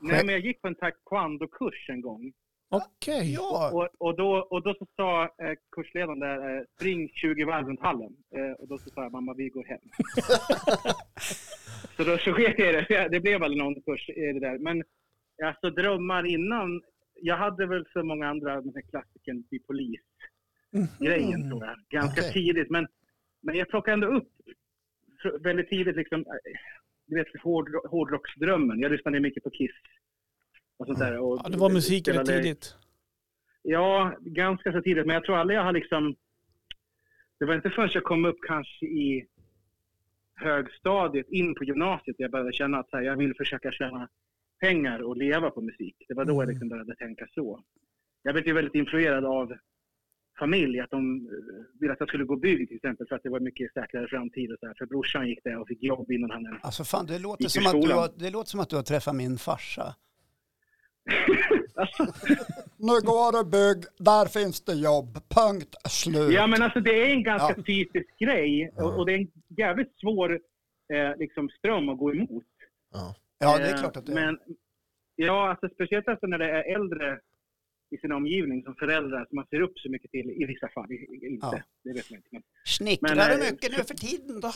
D: Nej, men jag gick på en taekwondo-kurs en gång.
A: Okej.
B: ja.
D: Och, och, då, och då så sa eh, kursledaren där, eh, spring 20 varv runt hallen. Eh, och då så sa jag, mamma vi
A: *laughs*
D: går hem. så då så sket jag i det. Ja, Det blev aldrig någon kurs i det där. Men alltså drömmar innan. Jag hade väl som många andra den här klassiken bli polis-grejen
A: Mm.
D: tror jag. Ganska
C: Okej.
D: tidigt. Men, men jag plockade ändå upp fr- väldigt tidigt liksom, eh, du vet hårdro- hårdrocksdrömmen. Jag lyssnade mycket på Kiss. Och sånt där. Och
A: Mm. Ja, det var musiken rätt
D: spelade-
A: tidigt.
D: Ja, ganska så tidigt. Men jag tror aldrig jag har liksom... Det var inte förrän jag kom upp kanske i högstadiet, in på gymnasiet, där jag började känna att så här, jag vill försöka tjäna pengar och leva på musik. Det var då jag liksom började tänka så. Jag blev ju väldigt influerad av familj, att de eh, ville att jag skulle gå bygg till exempel för att det var mycket säkrare framtid och så här. För brorsan gick det och fick jobb innan han ens...
B: Alltså fan, det låter,
D: Gick i
B: som att, du
D: skolan.
B: har, det låter som att du har träffat min farsa.
D: *laughs* Alltså,
B: Nu går det bygg, där finns det jobb, punkt slut.
D: Ja, men alltså det är en ganska
B: Ja.
D: typisk grej och, och det är en jävligt svår eh, liksom, ström att gå emot.
C: *laughs* Ja.
B: ja, det är
D: Eh,
B: klart att det är.
D: Men, ja, alltså, speciellt alltså när det är äldre i sin omgivning som föräldrar som man ser upp så mycket till i vissa fall. i- i- Inte,
B: Ja.
D: det vet man inte. Men, *laughs*
B: Snickrar
D: men,
B: du
D: eh,
B: mycket nu för tiden då?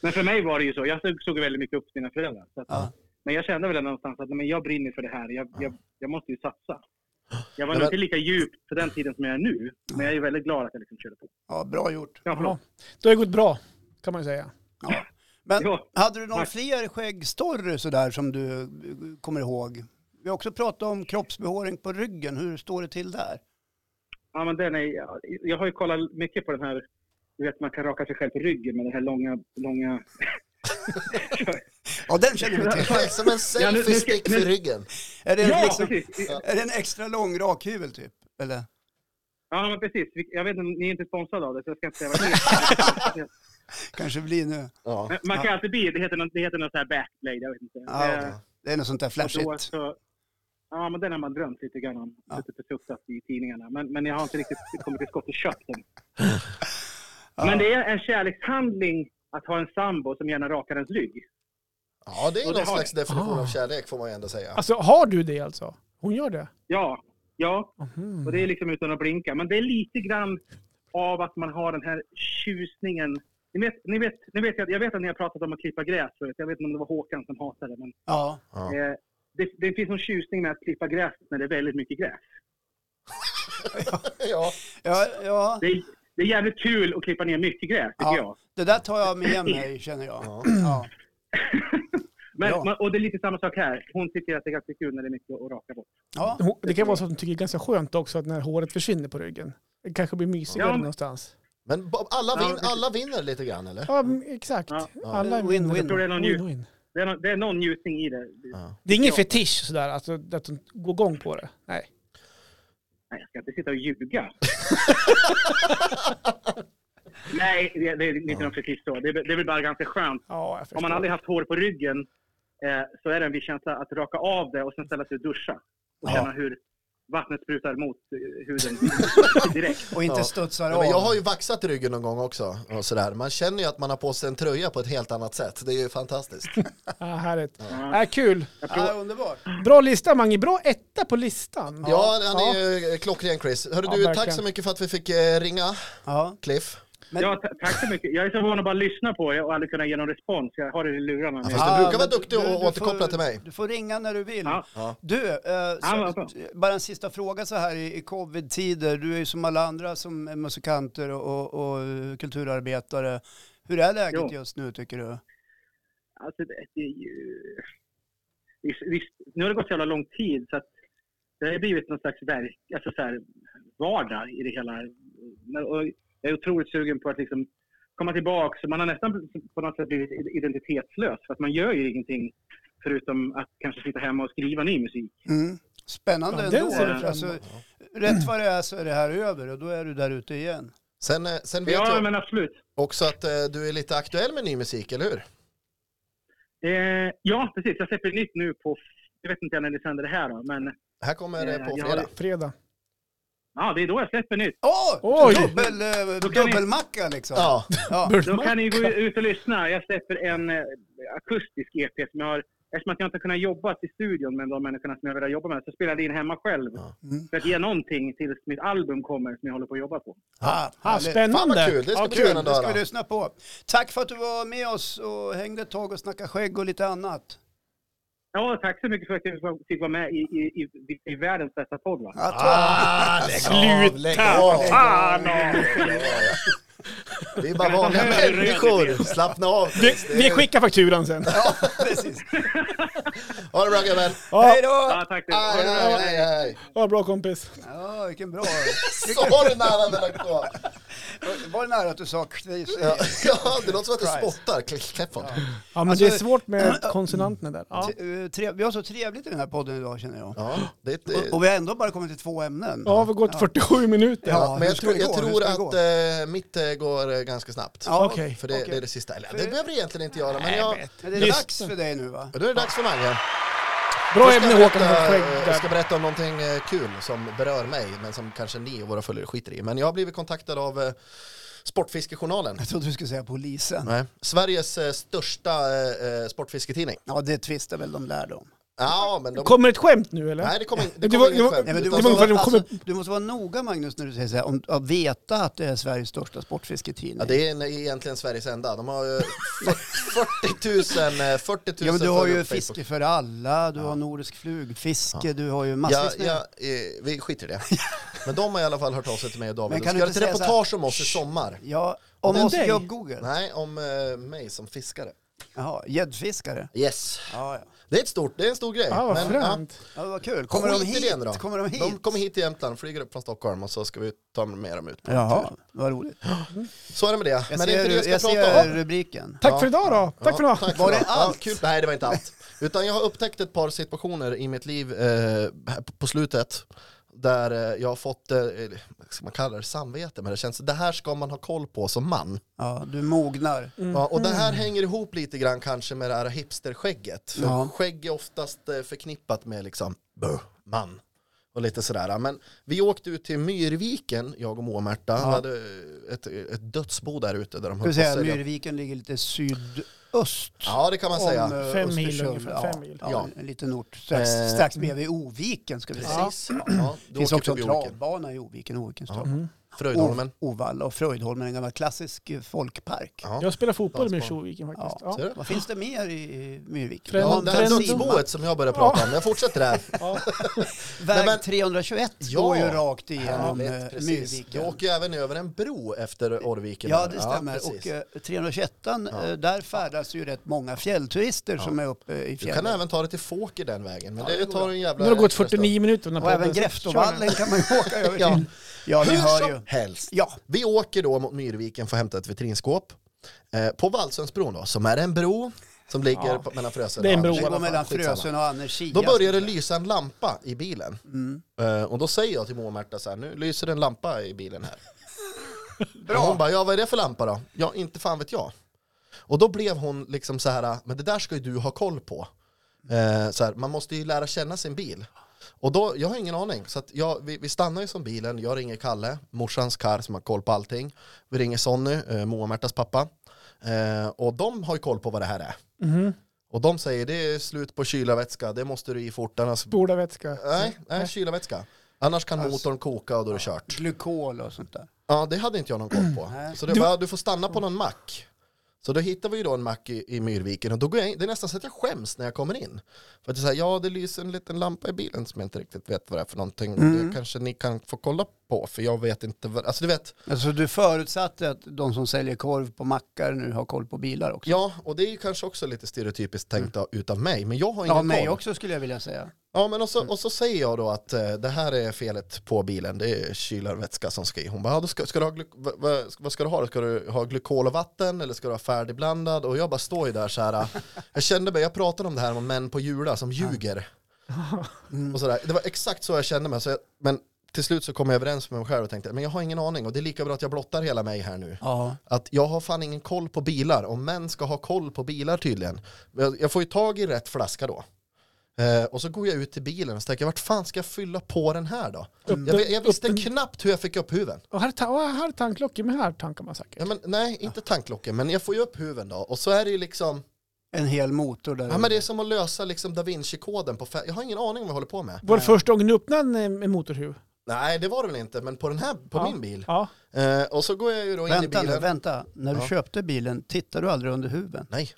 D: men för mig var det ju så. Jag såg, såg väldigt mycket upp till mina föräldrar. Så att,
B: Ja.
D: Men jag kände väl någonstans att nej, men jag brinner för det här. Jag, jag, jag måste ju satsa. Jag var
C: Men-
D: nog inte lika djup på den tiden som jag är nu. Men jag är väldigt glad att jag liksom körde på.
B: Ja, bra gjort.
D: Ja,
A: Ja.
D: förlåt.
A: Då har det gått bra, kan man ju säga.
B: Ja. Men
D: Ja.
B: hade du någon
D: Tack.
B: fler skäggstory sådär som du eh, kommer ihåg? Vi har också pratat om kroppsbehåring på ryggen, hur står det till där?
D: Ja, men den är, jag- jag har ju kollat mycket på den här, du vet man kan raka sig själv på ryggen med den här långa, långa...
B: Ja, den känner vi
D: *laughs*
B: till.
C: Som en
D: Ja, nu- nu ska-
C: selfie stick för
D: nu-
C: ryggen.
B: Är det, en,
D: Ja,
B: liksom,
D: precis!
B: är det en extra lång rakhyvel typ? Eller?
D: Ja, men precis. Vi- Jag vet inte, ni är inte sponsrade av det så jag ska
B: *laughs*
D: inte säga vad det är.
B: Kanske blir nu.
C: Ja.
D: Men Man kan alltid bli, det heter något, det heter något så här backblade, jag vet inte.
B: Ja,
D: Eh,
B: okej. Det är något sånt där
D: och då
B: flashigt.
D: så- Ja, men den har man drömt lite grann om.
B: Ja.
D: Lite försuttat i tidningarna. Men, men jag har inte riktigt kommit till skott och köpt den. Men det är en kärlekshandling att ha en sambo som gärna rakar ens rygg.
C: ja, det är
D: Och det
C: någon
D: har
C: slags definition
A: Ah.
C: av kärlek får man ju ändå säga.
A: Alltså, har du det alltså? Hon gör det?
D: Ja, ja.
A: Mhm.
D: Och det är liksom utan att blinka. Men det är lite grann av att man har den här tjusningen. Ni vet, ni vet, ni vet, jag jag vet att ni har pratat om att klippa gräs förut. Jag vet inte om det var Håkan som hatade det. Men,
B: Ja.
C: Ja.
D: eh, det, det finns någon tjusning med att klippa gräs när det är väldigt mycket gräs.
C: *laughs* ja.
B: Ja, ja,
D: Det är, det är jävligt kul att klippa ner mycket gräs, tycker
B: Ja.
D: jag.
B: det där tar jag med mig känner jag.
C: Ja.
B: Ja.
D: Men,
B: Ja.
D: man, och det är lite samma sak här. Hon tycker att det är ganska kul när det är mycket att raka bort.
B: Ja.
A: Ho- Det kan vara så att de tycker det är ganska skönt också att när håret försvinner på ryggen. Det kanske blir mysigare
D: Ja.
A: någonstans.
C: Men ba- alla,
D: Ja,
C: vin,
D: precis.
C: alla vinner lite grann eller?
A: Ja, men exakt.
D: Ja.
A: Alla
B: Win-win.
A: vinner.
B: Jag
D: tror det är någon ju-
A: Win-win.
D: Det är, nå- det är någon njutning i det.
C: Ja.
A: Det är ingen
D: Ja.
A: fetisch sådär, alltså, att de går igång på det. Nej.
D: Nej, jag ska inte sitta och ljuga. Nej, det, det är inte någon precis så. Det, är- det är väl bara ganska skönt.
A: Ja, jag
D: Om man
A: förstår.
D: aldrig haft hår på ryggen eh, så är det en viss känsla att raka av det och sen ställa sig och duscha. Och
B: Ja.
D: känna hur vattnet sprutar mot
B: *laughs*
D: eh, huden direkt.
B: Och inte
C: Ja.
B: studsar
C: Ja,
B: av.
C: men jag har ju vaxat ryggen någon gång också. Och sådär. Man känner ju att man har på sig en tröja på ett helt annat sätt. Det är ju fantastiskt.
A: Ja, härligt.
D: Ja.
A: Ja, kul.
D: Jag
B: Ja,
D: provar-
B: underbart.
A: Bra lista Mange, bra etta på listan.
C: Ja, han är ju eh, klockren Chris. Hörru,
A: Ja,
C: du, tack
A: verkligen.
C: så mycket för att vi fick eh, ringa,
B: Ja.
C: Cliff.
B: Men,
D: Ja, ta- tack så mycket. Jag är så van att bara lyssna på er och aldrig kunna ge någon respons. Jag har det i lurarna. Men...
C: fast- du brukar vara
B: men
C: duktig och återkoppla
B: får,
C: till mig.
B: Du får ringa när du vill.
D: Ja.
C: Ja.
B: Du, eh,
D: vad
B: så,
D: bra.
B: bara en sista fråga så här i, i covid-tider. Du är ju som alla andra som är musikanter och, och, och kulturarbetare. Hur är läget
D: Jo.
B: just nu tycker du?
D: Alltså, det, det är ju... det är- det är- nu har det gått så jävla lång tid så att det har blivit någon slags verk, alltså så här, vardag i det hela. Men- och Jag är otroligt sugen på att liksom komma tillbaka. Så man har nästan på något sätt blivit identitetslös. För att man gör ju ingenting förutom att kanske sitta hemma och skriva ny musik.
B: Mm. Spännande
A: Ja, den
B: ändå.
A: ser vi
B: för
A: fram
B: Alltså, rätt vad det är så är det här över och då är du där ute igen.
C: Sen, eh, sen vet
D: Ja,
C: jag
D: men absolut.
C: också att eh, du är lite aktuell med ny musik, eller hur?
D: Eh, ja, precis. Jag släpper nytt nu på... Jag vet inte när ni sänder det här då, men
C: Här kommer det
D: Eh,
C: på
D: jag
C: fredag.
A: Fredag.
D: ja, det är då jag släpper nytt.
B: Åh!
A: Oj!
B: dubbel, eh,
D: Då kan ni-
B: dubbelmacka liksom.
C: Ja,
B: Ja.
A: Burma.
D: Då kan ni gå ut och lyssna. Jag släpper en eh, akustisk EP som jag har... Eftersom att jag inte har kunnat jobba i studion med de människorna som jag vill jobba med så spelade jag in hemma själv.
C: Ja.
B: Mm.
D: För att ge någonting tills mitt album kommer som jag håller på att jobba på.
B: Ah,
A: Ah,
B: härligt.
A: spännande.
C: fan vad kul. Det ska
A: Ja,
C: bli
A: kul.
C: spännande
B: Det ska
C: att
B: vi
C: höra.
B: lyssna på. Tack för att du var med oss och hängde ett tag och snackade skägg och lite annat.
D: Ja, tack så mycket för att jag fick vara med i, i, i, i världens bästa podd. Va?
B: Ja,
C: Ah, lägg av, lägg av.
A: Fan av.
C: Vi är bara
D: Kan inte
C: vanliga
D: höra hur röd
C: människor. Slappna av.
A: Vi,
C: Chris. Det
A: vi
C: är-
A: skickar fakturan
C: *laughs*
A: sen.
B: *laughs* precis.
C: Ha det bra gubben.
B: Hej
A: Ja,
B: då!
C: Ah.
D: Ja, tack.
C: Aj, aj, aj, aj.
A: ha bra kompis.
B: Ja, vilken bra.
C: Sorgen han hade lagt på.
B: Var det nära att du sa eh, kvis?
C: Ja, *laughs* ja, det låter som att du
B: Christ.
C: spottar. Cliff Clapham.
A: Ja, men
B: Alltså-
A: det är svårt med konsonanterna där. Ja.
B: Tre- eh, tre- Vi har så trevligt i den här podden idag känner jag.
C: Ja, det, det,
B: Och, och vi har ändå bara kommit till två ämnen.
A: Ja, vi har gått 47 minuter.
B: Ja,
C: Ja, men
B: hur
C: jag
B: ska
C: tror,
B: det gå?
C: jag
B: Hur
C: tror
B: ska det gå?
C: att eh, mitt eh, går eh, ganska snabbt.
B: Ja,
A: Okej.
C: För det,
B: okej.
C: det är det sista. Eller, det
B: För-
C: behöver jag egentligen inte göra, men
A: Nej,
C: jag,
A: men-
B: Men det är
A: Just-
B: dags för dig nu va?
C: då är det dags för Mange.
A: Bra
C: Jag ska
A: ämne Håkan,
C: berätta-
A: för skägg
C: Jag ska
A: där.
C: berätta om någonting eh, kul som berör mig, men som kanske ni och våra följare skiter i. Men jag har blivit kontaktad av eh, Sportfiskejournalen.
B: Jag trodde du skulle säga polisen.
C: Nej. Sveriges eh, största eh, eh, sportfisketidning.
B: Ja, det tvistar väl de lärde om.
C: Ja, men de...
A: Kommer ett skämt nu eller?
C: Nej, det kommer in- det
A: Det
C: kommer
A: var- det
C: inget
A: var-
C: skämt.
B: Nej, men
A: Det
B: du,
C: utan
A: var
B: måste
C: så-
A: ungefär
B: vara,
A: det kommer-
B: alltså, du måste vara noga Magnus när du säger så här, om, att veta att det är Sveriges största sportfisketidning.
C: Ja, det är en- egentligen Sveriges enda. De har eh,
B: *laughs*
C: fyrt- 40 000, eh, 40 000
B: Ja, men du har ju
C: följare på Facebook.
B: Fiske för alla, du har Nordisk flugfiske, du har ju
C: Ja,
B: massvis med...
C: ja, eh, vi skiter i
B: *laughs*
C: det. Men de har i alla fall hört av sig till mig och David.
B: Men
C: De
B: kan
C: ska
B: du
C: göra ett
B: inte säga så
C: reportage om oss i sommar.
B: Ja, om
A: Men
B: oss
A: dig?
B: gubb-Google.
C: Nej, om eh, mig som fiskare.
B: Jaha, gäddfiskare.
C: Yes.
B: Ja, ja.
C: Det är, ett stort, det är en stor grej.
A: Ja, Ah, vad
C: ja,
A: fränt.
B: ja, vad kul. Kommer
C: skit
B: de
C: i
B: hit?
C: det nu då.
B: Kommer de hit?
C: De kommer hit till Jämtland, flyger upp från Stockholm och så ska vi ta med dem ut. på
B: Jaha,
C: tur.
B: vad roligt.
C: Så är det med det.
B: Jag
C: men det är
B: ser,
C: inte det jag
B: jag
C: ska prata
B: ser
C: om.
B: rubriken.
A: Tack för idag då. Tack för
C: Ja,
A: idag.
C: tack
B: Var det
C: idag.
B: allt?
C: Ja, kul. Nej, det var inte allt. Utan jag har upptäckt ett par situationer i mitt liv eh, här på- på slutet där eh, jag har fått, eh, vad ska man kalla det, samvete, men det känns, det här ska man ha koll på som man.
B: Ja, du mognar.
C: Ja, och det här
B: Mm.
C: hänger ihop lite grann kanske med det här hipsterskägget. För
B: Ja.
C: Skägg är oftast eh, förknippat med liksom "Buh, man och lite sådär. Men vi åkte ut till Myrviken, jag och Moa-Märta. Ja. hade ett, ett dödsbo där ute där de
B: Ska vi
C: höll på att
B: säga,
C: sälja.
B: Myrviken ligger lite syd... öst.
C: Ja, det kan man säga.
B: eh,
A: Fem mil
B: Östersund.
A: ungefär,
B: Ja,
A: fem mil.
B: Ja,
C: Ja.
B: en liten ort strax,
C: Eh,
B: strax bredvid Oviken ska vi säga.
C: Precis. Ja,
B: Det
C: du
B: finns
C: åker
B: också en
C: förbi Åker.
B: travbana i Oviken, Ovikens
C: Ja.
B: travbana.
A: Mm.
C: Fröjdholmen.
B: O- Ovalla och Fröjdholmen, en gammal klassisk eh, folkpark.
C: Ja.
A: Jag spelar fotboll med
C: Dansband.
A: Tjoviken faktiskt.
B: Ja.
A: Ja.
C: Ser du?
B: Vad finns det mer i Myrvik?
A: Trend-
C: Ja, det här
A: trend-
C: dödsboet som jag började prata om, jag
B: *laughs*
C: fortsätter där.
A: Ja.
B: Väg
C: Nej, men-
B: 321 går ju
C: Ja.
B: rakt igenom
C: Härligt,
B: eh,
C: precis. Du
B: Myrviken.
C: åker ju även över en bro efter Orrviken.
B: Ja,
C: där.
B: det stämmer.
C: precis.
B: och eh, 321 eh, där färdas ju rätt många fjällturister som är uppe eh, i
C: du kan
B: fjällen.
C: även ta dig till Fåker den vägen, men
B: Ja, det
C: det
B: går
C: tar en
A: Nu
C: jävla...
A: har det gått
C: extra stund.
A: 49 minuter.
B: Och även Gräftovallen kan man ju
C: *laughs*
B: åka över till.
C: Ja.
B: ja. ni
C: Hur
B: hör ju.
C: som helst.
B: Ja,
C: Vi åker då mot Myrviken för att hämta ett vitrinskåp. Eh, på Vallsundsbron då, som är en bro som ligger
A: Ja.
C: på, mellan Frösön
A: Det är en
C: Andersön.
A: bro.
B: det går
C: Vad fan,
B: mellan
C: skitsamma.
B: Frösön och Annerskia.
C: Då börjar det lysa en lampa i bilen.
B: Mm.
C: Eh, och då säger jag till Moa och Märta så här, nu lyser en lampa i
B: *laughs*
C: bilen här.
B: Bra.
C: Och Hon bara, ja vad är det för lampa då? Ja, inte fan vet jag. Och då blev hon liksom så här, men det där ska ju du ha koll på. Eh, så här, man måste ju lära känna sin bil. Och då, jag har ingen aning, så att jag, vi, vi stannar ju som bilen, jag ringer Kalle, morsans karl som har koll på allting. Vi ringer Sonny, eh, Moa och Märtas pappa. Eh, och de har ju koll på vad det här är.
A: Mhm.
C: Och de säger, det är slut på kylarvätska, det måste du i fort, annars...
A: Spola vätska.
C: Nej, nej, kylarvätska. Annars kan
B: Alltså.
C: motorn koka och då är det kört.
B: Glykol och sånt där.
C: Ja, det hade inte jag någon koll på.
B: *clears throat* Nej.
C: så det
A: Du-
C: var, du får stanna på någon mack. Så då hittar vi ju då en mack i, i Myrviken och då går jag in, det är nästan så att jag skäms när jag kommer in. För att det är så här, ja det lyser en liten lampa i bilen som jag inte riktigt vet vad det är för någonting.
B: Mm.
C: Det kanske ni kan få kolla på för jag vet inte vad, alltså du vet,
B: Alltså du förutsatte att de som säljer korv på mackar nu har koll på bilar också?
C: ja och det är ju kanske också lite stereotypiskt tänkt av, utav mig, men jag har ingen
B: Mm. Ja,
C: koll.
B: mig också skulle jag vilja säga.
C: Ja, men och så, och så säger jag då att eh, det här är felet på bilen, det är kylarvätska som ska i. Hon bara, ja, då ska, ska du ha gly- vad- vad- vad ska du ha? då? Ska du ha glykol och vatten eller ska du ha färdigblandad? Och jag bara står ju där så här, eh, jag kände mig, jag pratade om det här med män på Jula som ljuger. Mm. Och sådär. Det var exakt så jag kände mig, så jag, men till slut så kom jag överens med mig själv och tänkte, men jag har ingen aning och det är lika bra att jag blottar hela mig här nu.
B: Ja.
C: Att jag har fan ingen koll på bilar och män ska ha koll på bilar tydligen. Men Jag får ju tag i rätt flaska då. Eh, och så går jag ut till bilen och så tänker jag, vart fan ska jag fylla på den här då?
A: Upp
C: Jag,
A: den-
C: jag visste
A: upp den-
C: knappt hur jag fick upp huven.
A: Och här, ta- och här är tanklocket, men här tankar man säkert.
C: Ja, men, nej, inte tanklocken, men jag får ju upp huven då. Och så är det ju liksom,
B: En hel motor där.
C: ja, men det är som att lösa liksom da Vinci-koden på fem, jag har ingen aning om vad jag håller på med.
A: Var det första gången du öppnade en, eh, en motorhuv?
C: Nej, det var det väl inte, men på den här, på
A: Ja.
C: min bil.
A: Ja.
C: Eh, och så går jag ju då in i
B: Vänta nu,
C: bilen.
B: vänta. När du
C: Ja.
B: köpte bilen, tittade du aldrig under huven?
C: Nej,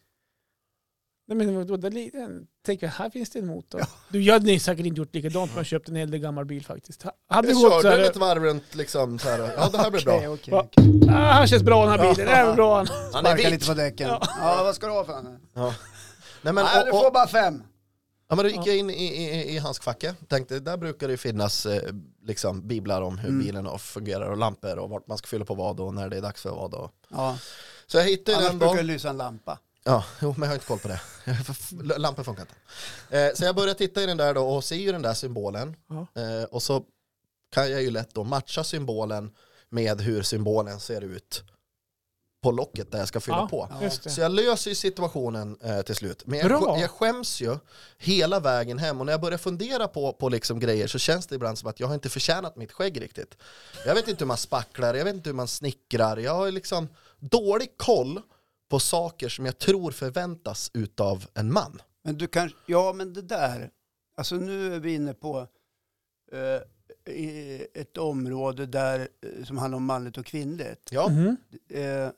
A: Nej, men vadå, där li- den- tänker jag, här finns det en motor. Du, jag hade ni säkert inte gjort likadant, men jag köpte en äldre gammal bil faktiskt. Ha- Hade det
C: jag
A: gått så
C: körde
A: här,
C: ett varv runt liksom så här, ja det här blir bra.
A: *laughs*
B: Okej, okej.
A: Va?
B: okej.
A: ah, här känns bra den här bilen, det här är bra.
C: Han är
B: Sparka
C: vit.
B: lite på däcken. Ja. vad ska du ha för den? här?
C: Nej, men,
B: Nej,
C: och-
B: du
C: och-
B: får bara fem.
C: Ja men då gick jag in i, i, i hans facke, tänkte där brukar det ju finnas eh, liksom biblar om hur bilen och fungerar och lampor och vart man ska fylla på vad och när det är dags för vad. Och.
B: Ja.
C: Så jag hittade
B: Annars
C: den då.
B: brukar det lysa en lampa.
C: Ja, jo, men jag har inte koll på det. *laughs* Lampor funkar inte. Eh, så jag börjar titta i den där då och ser ju den där symbolen.
A: Ja.
C: Eh, och så kan jag ju lätt då matcha symbolen med hur symbolen ser ut på locket där jag ska fylla
A: Ja.
C: på.
A: Ja, Just
C: Så
A: det.
C: jag löser ju situationen eh, till slut. Men jag,
A: Bra.
C: sk- jag skäms ju hela vägen hem och när jag börjar fundera på, på liksom grejer så känns det ibland som att jag har inte förtjänat mitt skägg riktigt. Jag vet inte hur man spacklar, jag vet inte hur man snickrar, jag har liksom dålig koll på saker som jag tror förväntas utav en man.
B: Men du kan, ja men det där, alltså nu är vi inne på eh, i ett område där, eh, som handlar om manligt och kvinnligt.
C: Ja,
A: Mhm.
B: Eh,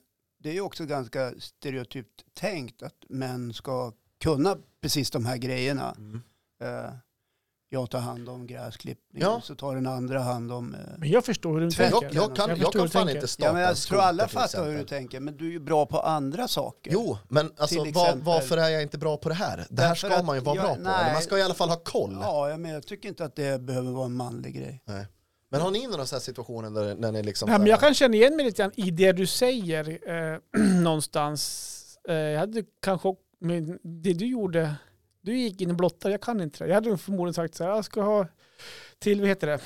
B: det är ju också ganska stereotypt tänkt att män ska kunna precis de här grejerna. Eh, jag tar hand om gräsklippningen,
C: Ja.
B: så tar den andra hand om... Eh,
A: Men jag förstår hur du
B: Tvärt-
A: tänker.
C: jag, jag kan,
A: Jag
C: jag
A: förstår hur
C: kan
A: du
C: fan
A: tänker.
C: inte starta
B: ja, men
C: en
B: jag tror
C: skoter,
B: alla
C: till
B: fattar hur du
C: exempel.
B: tänker, men du är ju bra på andra saker.
C: Jo, men alltså,
B: Till
C: vad,
B: exempel.
C: varför är jag inte bra på det här? Det här
B: Därför
C: ska
B: att
C: man ju vara
B: jag-
C: bra på,
B: nej.
C: eller man ska i alla fall ha koll.
B: Ja, ja, men jag tycker inte att det behöver vara en manlig grej.
C: Nej. Men har ni några sådana situationer där, när ni liksom...
A: Nej, men jag kan känna igen mig lite grann i det du säger eh, *clears throat* någonstans. Eh, jag hade kanske, ock- men det du gjorde, du gick in och blottade, jag kan inte det. Jag hade nog förmodligen sagt så här, jag ska ha till, vad heter det?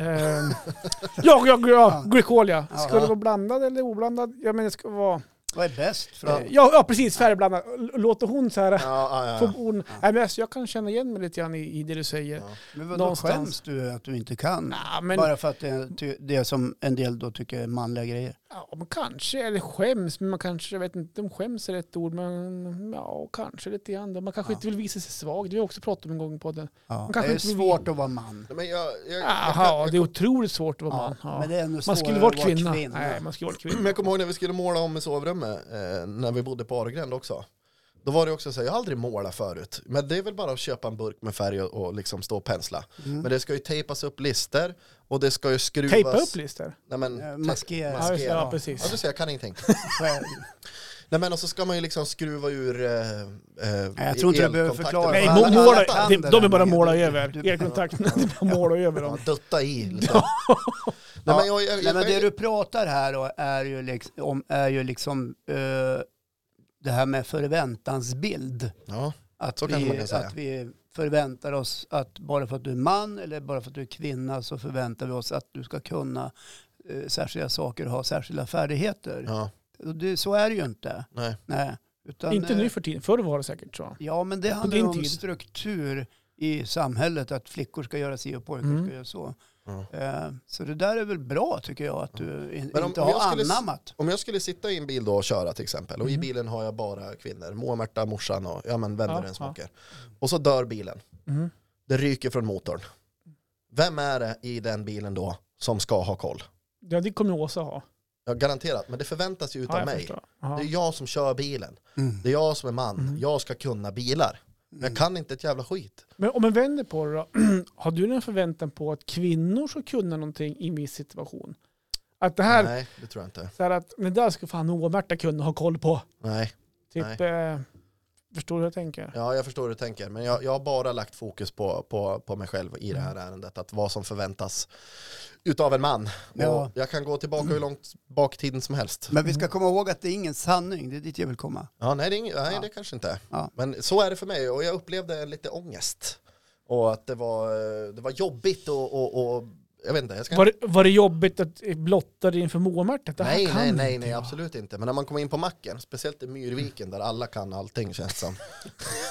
A: Eh,
C: *laughs*
A: ja, ja, ja, glykol ja. Ska
B: Ja.
A: det vara blandad eller oblandad? Ja, men det ska vara...
B: Vad är bäst för
C: Ja.
B: dig?
A: Ja, ja precis, färgblandad. L- Låter hon så här...
C: Ja, ja,
A: Få
C: ja.
A: ord- Nej, men alltså, jag kan känna igen mig lite grann i, i det du säger.
C: Ja.
B: Men vadå
A: Någonstans.
B: skäms du att du inte kan?
A: Ja, men,
B: Bara för att det är ty- det som en del då tycker är manliga grejer.
A: Ja, men kanske, eller skäms, men man kanske, jag vet inte om skäms är rätt ord, men ja, kanske lite grann. då. Man kanske
B: Ja.
A: inte vill visa sig svag, det har vi också pratat om en gång på den.
B: Ja.
A: Man
B: Det
A: kanske
B: är
A: inte vill-
B: svårt att vara man.
C: Men jag, jag, jag,
A: Aha, det är otroligt svårt att vara man. Ja.
B: Men det är ännu svårare
A: Man skulle
B: att
A: varit
B: vara
A: kvinna. Nej, man skulle varit
B: *clears throat*
C: Men
A: kvinna.
C: jag kommer ihåg när vi skulle måla om i sovrummet, eh, när vi bodde på Aregränd också. Då var det också så här, jag har aldrig målat förut. Men det är väl bara att köpa en burk med färg och, och liksom stå och pensla.
B: Mm.
C: Men det ska ju tejpas upp lister och det ska ju skruvas.
A: Tejpa upp listor.
C: Nej men,
B: Eh,
C: te-
B: maskera.
A: Ja, just det, ja,
C: Ja, du
A: precis.
C: ser, jag
B: *laughs*
C: kan ingenting.
B: Så är det.
C: Nej men och så ska man ju liksom skruva ur eh, eh,
B: Nej, jag tror inte du behöver
C: elkontakter.
B: förklara.
A: Nej,
B: Alla-
A: må-
B: alla
A: måla, de,
B: tänder
A: de är bara
B: där.
A: måla
B: Du-
A: över.
B: du- *laughs*
A: Elkontakten, det är bara måla över
C: Ja,
A: dem.
C: dutta i liksom. Nej men jag, jag,
B: Nej,
C: jag,
B: men det du pratar här då är ju liksom, om, är ju liksom eh, det här med förväntansbild.
C: ja,
B: Att
C: Så kanske man
B: vi,
C: kan säga.
B: att vi förväntar oss att bara för att du är man eller bara för att du är kvinna så förväntar vi oss att du ska kunna eh, särskilda saker och ha särskilda färdigheter.
C: ja,
B: Och det, så är det ju inte.
C: nej.
B: Nej. Utan,
A: Inte
B: eh,
A: nu för tiden, förr var det säkert så.
B: Ja, men det handlar ju
A: din
B: om
A: tid.
B: struktur i samhället, att flickor ska göra si och pojkar
A: Mm.
B: ska göra så.
C: Ja.
B: Eh, Så det där är väl bra tycker jag, att du in,
C: Men om-
B: inte
C: om jag
B: har
C: skulle s-
B: anammat.
C: Om jag skulle sitta i en bil då och köra till exempel och i
A: Mm.
C: bilen har jag bara kvinnor, Moa, Märta, morsan och ja, men vem
A: Ja,
C: det än som
A: ja.
C: åker. Och så dör bilen,
A: Mm.
C: det ryker från motorn. Vem är det i den bilen då som ska ha koll?
A: Ja, det kommer Åsa ha.
C: Ja, garanterat, men det förväntas ju
A: Ja,
C: utav
A: jag
C: mig.
A: förstår. Ja.
C: Det är jag som kör bilen,
B: Mm.
C: det är jag som är man,
A: Mm.
C: jag ska kunna bilar. Men jag kan inte ett jävla skit.
A: Men om man vänder på det då, *clears throat* har du någon förväntan på att kvinnor ska kunna någonting i en viss situation? Att det här,
C: Nej, det tror jag inte.
A: så här att, men där ska fan Åmärta kunna ha koll på.
C: Nej.
A: Typ, eh, förstår du hur jag tänker?
C: Ja, jag förstår hur du tänker, men jag, jag har bara lagt fokus på, på, på mig själv i det här
A: Mm.
C: ärendet, att vad som förväntas utav en man.
B: Ja.
C: Och jag kan gå tillbaka hur långt bak i tiden som helst.
B: Men vi ska komma ihåg att det är ingen sanning, det är dit jag vill komma.
C: Ja, nej, det, är ing- nej,
B: Ja.
C: det kanske inte är.
B: Ja.
C: Men så är det för mig och jag upplevde lite ångest. Och att det var, eh, det var jobbigt och, och, och jag vet inte. Jag ska...
A: Var det, var det jobbigt att blotta dig inför Moa-Märta? Det här
C: Nej,
A: kan
C: nej, nej,
A: inte
C: nej,
A: jag.
C: absolut inte. Men när man kommer in på macken, speciellt i Myrviken där alla kan allting känns som.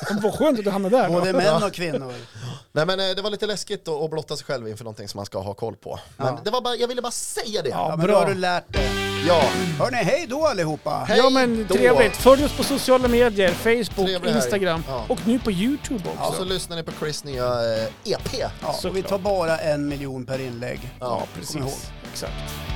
A: Men Vad skönt att du hamnade där.
B: Både
A: då.
B: män och kvinnor.
C: Nej men eh, det var lite läskigt att, att blotta sig själv inför någonting som man ska ha koll på. Men
B: Ja.
C: det var bara, jag ville bara säga det.
A: Ja,
B: Ja, men då har
A: bra.
B: du lärt dig.
C: Ja.
B: Hörni, hej då allihopa!
C: Hej
A: Ja men
C: då.
A: trevligt. Följ oss på sociala medier, Facebook,
C: Trevlig helg.
A: Instagram
C: Ja.
A: och nu på YouTube också.
C: Och så lyssnar ni på Chris nya eh, EP.
B: Ja, och vi
A: såklart.
B: tar bara en miljon per inlägg.
C: Ja,
B: Kom ihåg.
A: Precis, exakt.